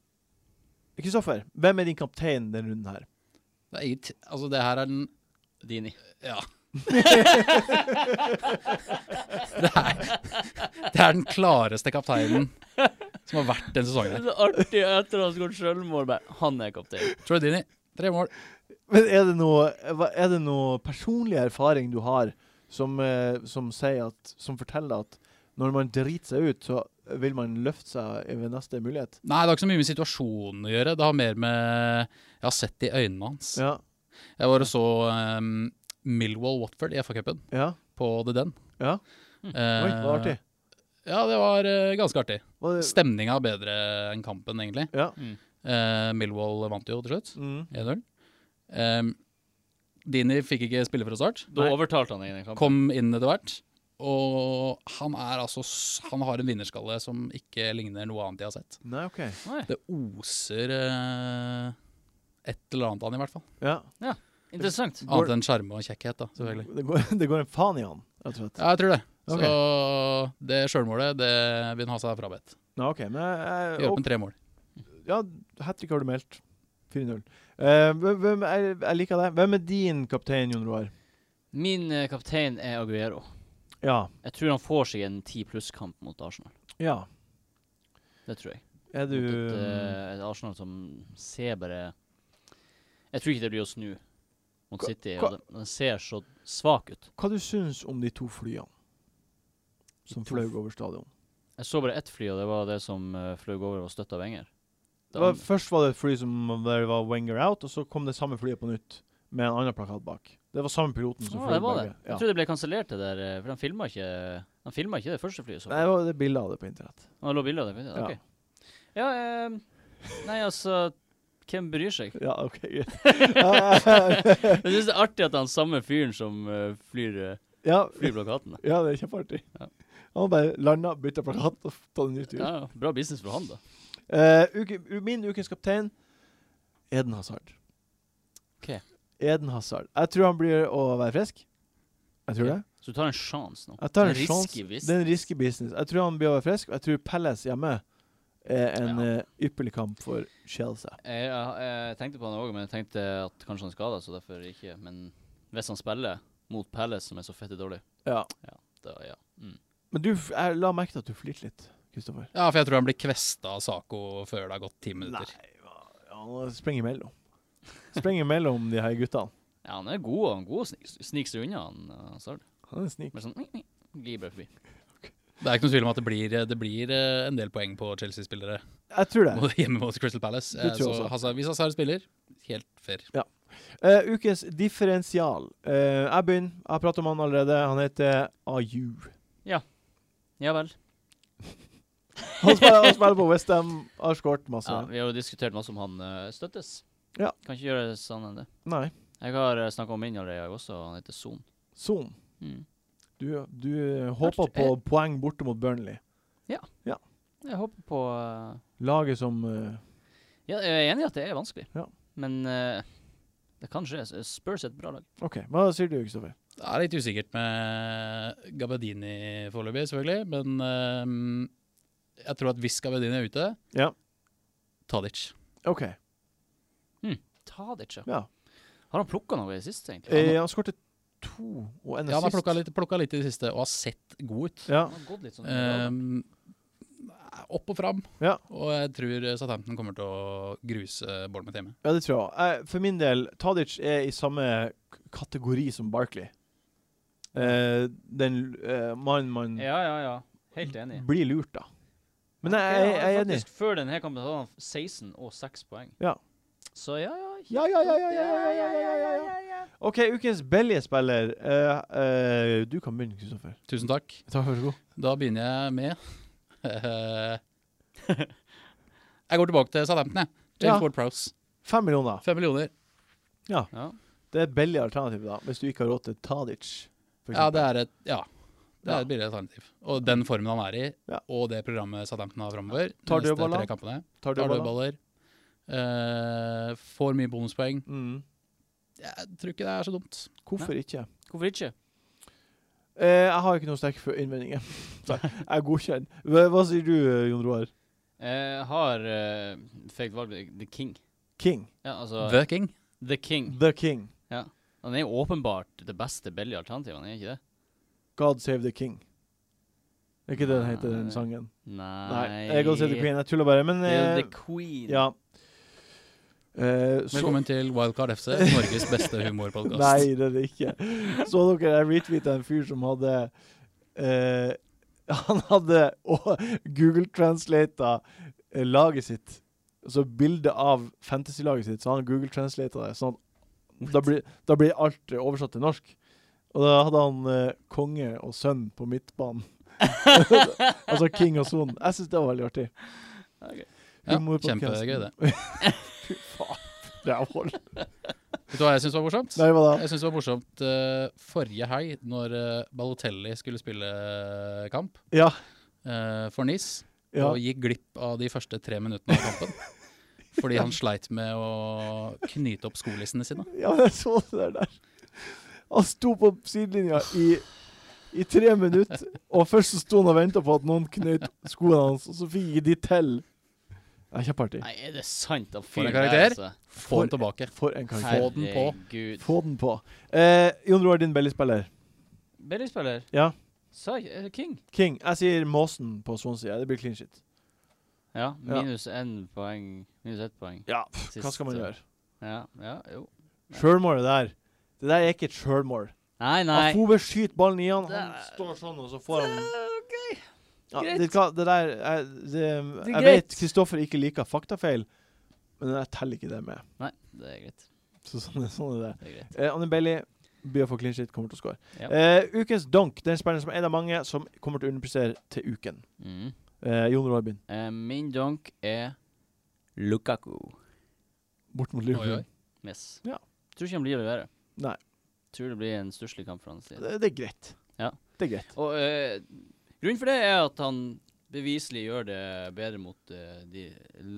Kristoffer, hvem er din kaptein denne runden her?
Det, er eget, altså det her er den *laughs*
Dini.
Ja. det, er, det er den klareste kapteinen som har vært
Det
den
er
sesongen. her.
så artig etter å ha skåret selvmål. Bare, han er kaptein.
Troy Dini, tre mål.
Men er det noe, hva- er det noe personlig erfaring du har som, eh, som, sier at, som forteller at når man driter seg ut, så vil man løfte seg ved neste mulighet?
Nei, det har ikke så mye med situasjonen å gjøre. Det har mer med Jeg har sett det i øynene hans.
Ja.
Jeg var og så um, Millwall Watford i FA-cupen
ja.
på The Den. Eh,
Ja. Oi, det var artig.
Ja, det var eh, ganske artig.
Var det-
Stemninga er bedre enn kampen, egentlig.
Ja.
Mm.
Eh, Millwall vant jo til slutt.
Mm.
1-0. Um, Dini fikk ikke spille fra start.
Da overtalte han i den kampen.
Kom inn etter hvert. Og han er altså s- Han har en vinnerskalle som ikke ligner noe annet jeg har sett.
Nei, OK.
Nei,
Det oser eh, et eller annet av han, i hvert fall.
Ja.
interessant.
Går-
Annet enn sjarme og kjekkhet, da, selvfølgelig.
Det går, *laughs* det går en faen i han, rett og slett.
Ja, jeg tror det.
Ok.
Så det sjølmålet, det vil han ha seg frabedt.
Ja, OK. Men jeg, jeg,
Gjør opp med tre mål.
Ja, hat trick har du meldt. 4-0. Eh, hvem- hvem er, jeg liker det. Hvem er din kaptein, Jon Roar?
Min eh, kaptein er Aguero.
Ja.
Jeg tror han får seg en 10 pluss-kamp mot Arsenal.
ja.
Det tror jeg.
Er du
Mot et, eh, et Arsenal som ser bare Jeg tror ikke det blir å snu mot
Hva-
City.
hva-
Og de, de ser så svak ut.
Hva du syns om de to flyene som
De to
fløy
f-
over stadion?
Jeg så bare ett fly, og det var det som eh, fløy over og støtta Wenger.
Det var, først var det et fly som der var Wenger out, og så kom det samme flyet på nytt med en annen plakat bak. Det var samme piloten som
Ja,
fløy
det var det.
begge. Ja.
Jeg tror det ble kansellert, det der. eh, For de filma ikke, de filmet ikke det første flyet. Så.
Nei, det var det bildet av det på internett.
Ah, det lå bilder av det?
Ja.
Ok. Ja, ehm, nei, altså Hvem
*laughs*
bryr seg?
Ja, OK, greit.
Jeg syns det er artig at han samme fyren som eh, flyr, eh,
*laughs* ja,
flyr plakatene.
ja, det er kjempeartig.
Ja.
Han bare landa, bytta plakat og tatt en ny tur.
Ja, ja. bra business for han, da.
Eh, uke, u- min ukens kaptein Eden Hazard.
Ok.
Eden Hazard. Jeg tror han blir å være frisk. Jeg tror
Ok.
det.
Så du tar en sjanse nå.
Jeg tar en
Det er
sjanse.
risky business.
Det er en risky business. Jeg tror han blir å være frisk, og jeg tror Palace hjemme er en
Ja.
eh, ypperlig kamp for Chelsea.
Jeg, jeg, jeg tenkte på han òg, men jeg tenkte at kanskje han er skada, så derfor ikke. Men hvis han spiller mot Palace, som er så fette dårlig,
Ja.
da ja. Mm.
Men du, f- jeg la merke til at du flirte litt, Kristoffer.
Ja, for jeg tror han blir kvesta av Saco før det har gått ti minutter.
Ja, han springer imellom. *laughs* Springer imellom de her guttene.
Ja, han er god, han er god og snik- sniker seg unna, han eh, Hazard.
Han er en snik.
Bare sånn «Ni, ni», glir bare forbi.
Det er ikke noen tvil om at det blir, det blir eh, en del poeng på Chelsea-spillere
Jeg tror det.
mot- *laughs* hjemme mot Crystal Palace.
Det
Eh,
tror jeg
Så
også.
Hazard, hvis Hazard spiller, helt fair.
Eh, ukes differensial. Eh, jeg begynner. Jeg har pratet om han allerede. Han heter AU.
Ja vel.
Han spiller, han spiller på Westham, har skåret masse.
Ja, vi har jo diskutert masse om han eh, støttes.
Altså- Ja.
Kan ikke gjøre det sånn enn det.
Nei.
Jeg har uh, snakka om min allerede også, han heter Son.
Son.
Mm.
Du, du håper på poeng borte mot Burnley.
Jeg håper på eh,
Laget som eh,
Ja, jeg er enig i at det er vanskelig,
Ja.
men eh, det kan skje. S- Spurs er et bra lag.
OK, hva sier du, Kristoffer?
Det er litt usikkert med Gabadini foreløpig, selvfølgelig. Men eh, jeg tror at hvis Gabadini er ute,
Ja.
Tadic.
OK.
Tadic, ja.
Ja.
Har han plukka noe i det siste, egentlig?
Eh, han skårte to og en
Ja, han har
assist.
plukka litt, plukka litt i det siste og har sett god ut.
Ja.
Han har gått litt sånn uh,
Ehm, opp og fram.
Ja.
Og jeg tror Southampton kommer til å gruse Bournemouth hjemme.
ja, det tror jeg. Eh, for min del, Tadic er i samme k- kategori som Barkley. Eh, den eh, mannen man
Ja, ja, ja. Helt enig.
blir lurt, da. Men Mm. jeg,
Ja,
jeg, jeg er enig.
faktisk, Før denne kampen hadde han 16 og 6 poeng.
Ja.
Så ja, ja.
Ja, ja, ja, ja, ja, ja, ja, ja, ja, ja, ja. OK, ukens Belly-spiller. Eh, eh, du kan begynne, Kristoffer.
Tusen takk.
Takk, vær så god.
Da begynner jeg med *laughs* Eh, Jeg går tilbake til Southampton, jeg.
Ja.
James Ward Prowse.
Fem millioner.
Fem millioner.
ja.
Det er et billig alternativ, da, hvis du ikke har råd til Tadic. for
Ja, det
eksempel.
er et Ja. Det er
Ja.
et billig alternativ. Og den formen han er i,
Ja.
og det programmet Southampton har framover
Tar
de neste
dødballer.
tre kampene,
Tar
tar
dødballer?
dødballer, eh, får mye bonuspoeng
Mm.
Jeg tror ikke det er så dumt.
Hvorfor ikke?
Hvorfor ikke?
Eh, jeg har ikke noen sterke for- innvendinger. *laughs* Så jeg godkjenner. Hva, hva sier du, eh, Jon Roar?
Jeg har eh, fekt valg The King.
King.
Ja, altså The,
The King.
King.
The King.
Han er jo åpenbart det beste billige alternativet, han er ikke det?
God save the king. Er ikke det den heter, den
Nei.
sangen?
Nei,
Nei. eh, God save the queen. Jeg tuller bare, men
Det er jo
eh,
The Queen.
Ja. Eh, så-
Velkommen til Wildcard FC, Norges beste humorpodkast.
Nei, det er det ikke. Så dere jeg retweeta en fyr som hadde eh, *laughs* Han hadde og Google translata eh, laget sitt, altså bilde av fantasy-laget sitt, så han Google translata det. Sånn at da blir, da blir alt eh, oversatt til norsk. Og da hadde han eh, konge og sønn på midtbanen. *laughs* altså king og son. Jeg syns det var veldig artig.
Ok.
Ja,
Humorpodcasten.
kjempegøy det.
Fy faen. Rævhål.
Vet du hva jeg syns var morsomt?
Nei, hva da?
Jeg syns det var morsomt eh, forrige helg, når eh, Balotelli skulle spille eh, kamp
Ja.
eh, for Nice,
ja.
og gikk glipp av de første tre minuttene av
*laughs*
kampen. Fordi han sleit med å knyte opp skolissene sine.
*laughs* Ja, men jeg så det der der. Han sto på sidelinja i, i tre minutter, og først så sto han og venta på at noen knøt skoene hans, og så fikk ikke de til. Det er kjempeartig.
Nei, er det sant? Han
For
fyren
en
der,
karakter.
altså.
Få den tilbake.
For en karakter.
Få den på.
Herregud.
Få den på. Eh, Jon Roar, din bellyspiller.
Billigspiller?
Ja.
Sa jeg eh, King?
King. Jeg sier Måsen på Swansea. Det blir clean shit.
Ja.
Ja.
Minus én poeng. Minus ett poeng.
Ja,
Sist,
Hva skal man
eh,
gjøre?
Ja, ja, jo.
Sjølmålet der. Det der er ikke et sjølmål.
Nei, nei.
Afobe skyter ballen i han, han
Det-
står sånn, og Ah, så får han
OK.
Ja,
Greit.
det, hva, det der Jeg, det,
er
jeg
greit.
vet Kristoffer ikke liker faktafeil, men jeg teller ikke det med.
Nei, det er greit.
Så sånn, er- sånn er det.
Det er greit.
Eh, Anne Bailey blir å få clean shit, kommer til å score.
Ja.
Eh, ukens donk, den spilleren som er en av mange som kommer til å underprestere til uken.
Mm.
Eh, Jon Rorbin.
Eh, min donk er Lukaku.
bort mot
Oi,
Liverpool.
oi.
Yes.
Ja.
Tror ikke han blir levere.
Nei.
Tror det blir en stusslig kamp fra hans side.
Det, det er greit.
Ja.
Det er greit.
Og eh, grunnen for det er at han beviselig gjør det bedre mot eh, de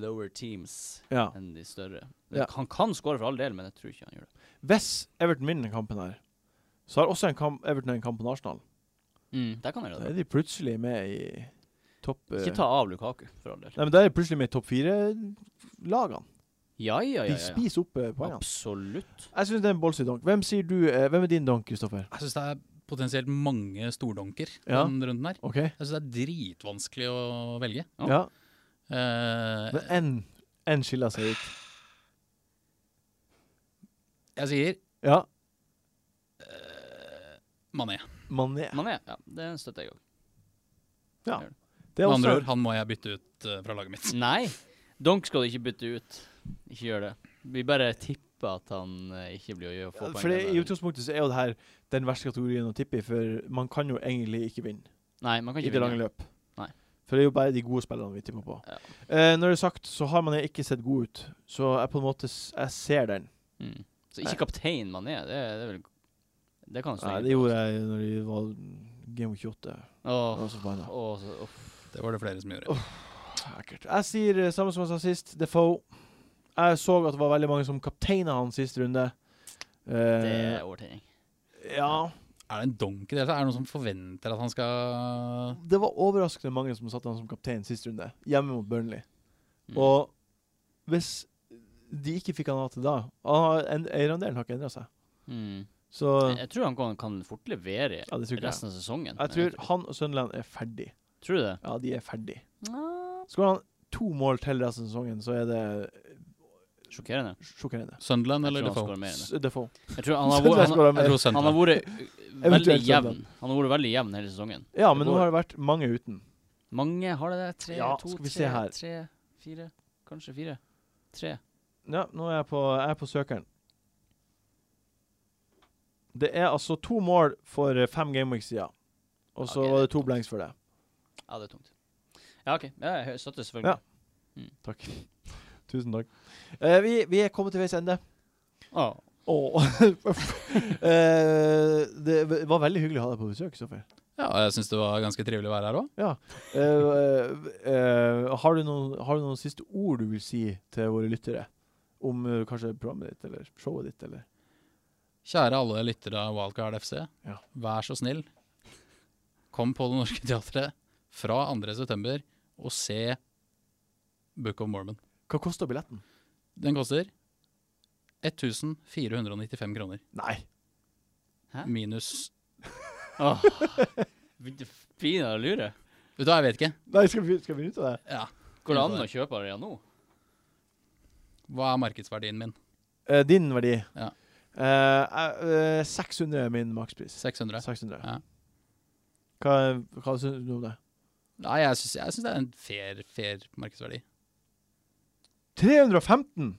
lower teams
Ja.
enn de større.
Ja.
Han kan skåre for all del, men jeg tror ikke han gjør det.
Hvis Everton vinner denne kampen her, så har også en kamp, Everton en kamp på Arsenal.
Der kan han
Da
gjøre det.
er de plutselig med i topp... eh,
Ikke ta av Lukaku, for all del.
Nei, men Da er de plutselig med i topp fire-lagene.
Ja, ja, ja.
De
ja, ja.
spiser opp eh, poengene.
Absolutt.
Jeg syns det er en ballsy donk. Hvem sier du eh, Hvem er din donk, Kristoffer?
Jeg syns det er potensielt mange stordonker
Ja.
den runden her.
OK?
Jeg syns det er dritvanskelig å velge.
Ja.
Ja.
Eh,
Men en, en skiller seg ut.
jeg sier
Ja.
Mané.
Mané.
Mané, ja, det støtter jeg òg.
Det er
Med andre
også
ord, han må jeg bytte ut eh, fra laget mitt.
Nei, Donk skal du ikke bytte ut. Ikke gjør det. Vi bare tipper at han eh, ikke blir å gjøre få
Ja,
poeng. eh,
For det-
denne
I
runden.
utgangspunktet så er jo det her den verste kategorien å tippe i, for man kan jo egentlig ikke vinne
Nei, man kan
i
ikke
det lange
vinne.
løp.
Nei.
For det er jo bare de gode spillene vi tipper på.
Ja.
Eh, når det er sagt, så har man ikke sett god ut, så jeg på en måte s jeg ser den.
Mm. Så ikke kaptein Mané, det, det er vel Det kan
Nei,
han stå
det gjorde jeg når de var Game 28. Jeg var
Åh,
så forbanna.
åh, så- åh.
Det var det flere som gjorde.
Ekkelt. Jeg sier eh, samme som jeg sa sist, Defoe. Jeg så at det var veldig mange som kapteina han sist runde.
Det
Eh,
er overtenning.
ja.
Er det en donk i det? hele tatt? Er det noen som forventer at han skal
Det var overraskende mange som satte han som kaptein sist runde, hjemme mot Burnley.
Mm.
Og hvis de ikke fikk han av til da han har- en- Eierandelen har ikke endra seg.
Mm.
Så
Jeg, jeg tror han kan, kan fort levere
ja, det tror ikke jeg.
resten av
Jeg
sesongen.
tror han og Sunderland er ferdig.
Tror du det?
Ja, de er ferdig.
Nja,
Skårer han to mål til resten av sesongen, så er det
Sjokkerende.
sjokkerende.
Sunderland
Jeg
eller
tror han
Defoe?
skårer mer enn det.
S- Defoe.
Jeg tror han har vært-
Sunderland skårer
han-
mer.
Jeg tror
han har
Sunderland.
vært eh,
*laughs*
veldig
Eventuelt
jevn. Han har vært veldig jevn hele sesongen.
Ja, men
Det
nå
går.
har det vært mange uten.
Mange har det der. Tre,
Ja,
to,
skal vi
tre,
se her.
tre, fire. Kanskje fire. Tre.
Ja, nå er jeg på, jeg er på søkeren. Det er altså to mål for eh, fem gameweeks siden. Og så
Ok,
var
det
det
er
to
tungt.
blanks for det.
Ja, det er tungt. Ja, OK. Ja, jeg støtter selvfølgelig.
Takk. Tusen takk. Eh, vi, vi er kommet til veis ende.
Åh.
*laughs* Åh. Eh, det v- var veldig hyggelig å ha deg på besøk, Kristoffer.
Ja, jeg syns det var ganske trivelig å være her òg.
Eh, eh, eh, har, du noen- har du noen siste ord du vil si til våre lyttere? Om eh, kanskje programmet ditt, eller showet ditt, eller
Kjære alle lyttere av Wildcard FC.
Ja.
Vær så snill, kom på Det Norske Teatret fra 2. september og se Book of Mormon.
Hva koster billetten?
Den koster 1495 kroner
Nei.
Hæ?
minus
Åh. Begynte pinadø å lure.
Vet du hva, jeg vet ikke.
Nei, skal vi, skal vi begynne til det?
Ja.
Går det an å kjøpe det nå?
Hva er markedsverdien min?
Eh, din verdi?
Ja.
Eh, eh, 600 er min makspris.
600?
600.
Ja.
Hva, hva syns du om det?
Nei, jeg syns, jeg syns det er en fair, fair markedsverdi.
315!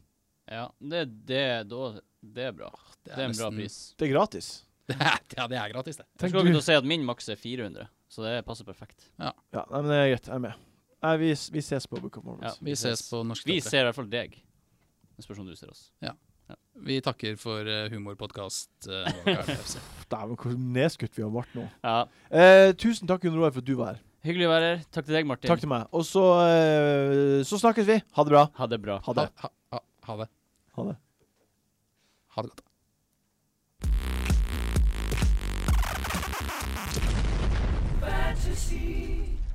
Ja, det, det, da, det er bra. Det er, en bra
nesten-
pris.
Det er gratis.
Det er, *laughs* ja, det er gratis, det.
Jeg
Tenk
skal
du-
ikke til å si at min maks er 400, så det passer perfekt.
Ja, nei, men det er greit. Jeg er med. Nei, vi, vi ses på Book of Mormons.
Ja.
Vi ses på Norsk
Vi
Teatret.
ser i hvert fall deg. Det spørs om du ser oss.
Vi takker for eh, humorpodkast. eh, Wildcard FC.
Dæven, hvor nedskutt vi har vært nå.
Ja.
Eh, tusen takk, Jon Roar, for at du var her.
Hyggelig å være her. Takk til deg, Martin.
Takk til meg. Og så, eh, så snakkes vi. Ha det bra.
Ha det bra.
Ha det.
Ha, ha, ha det.
Ha det.
Ha det godt.
fantasy.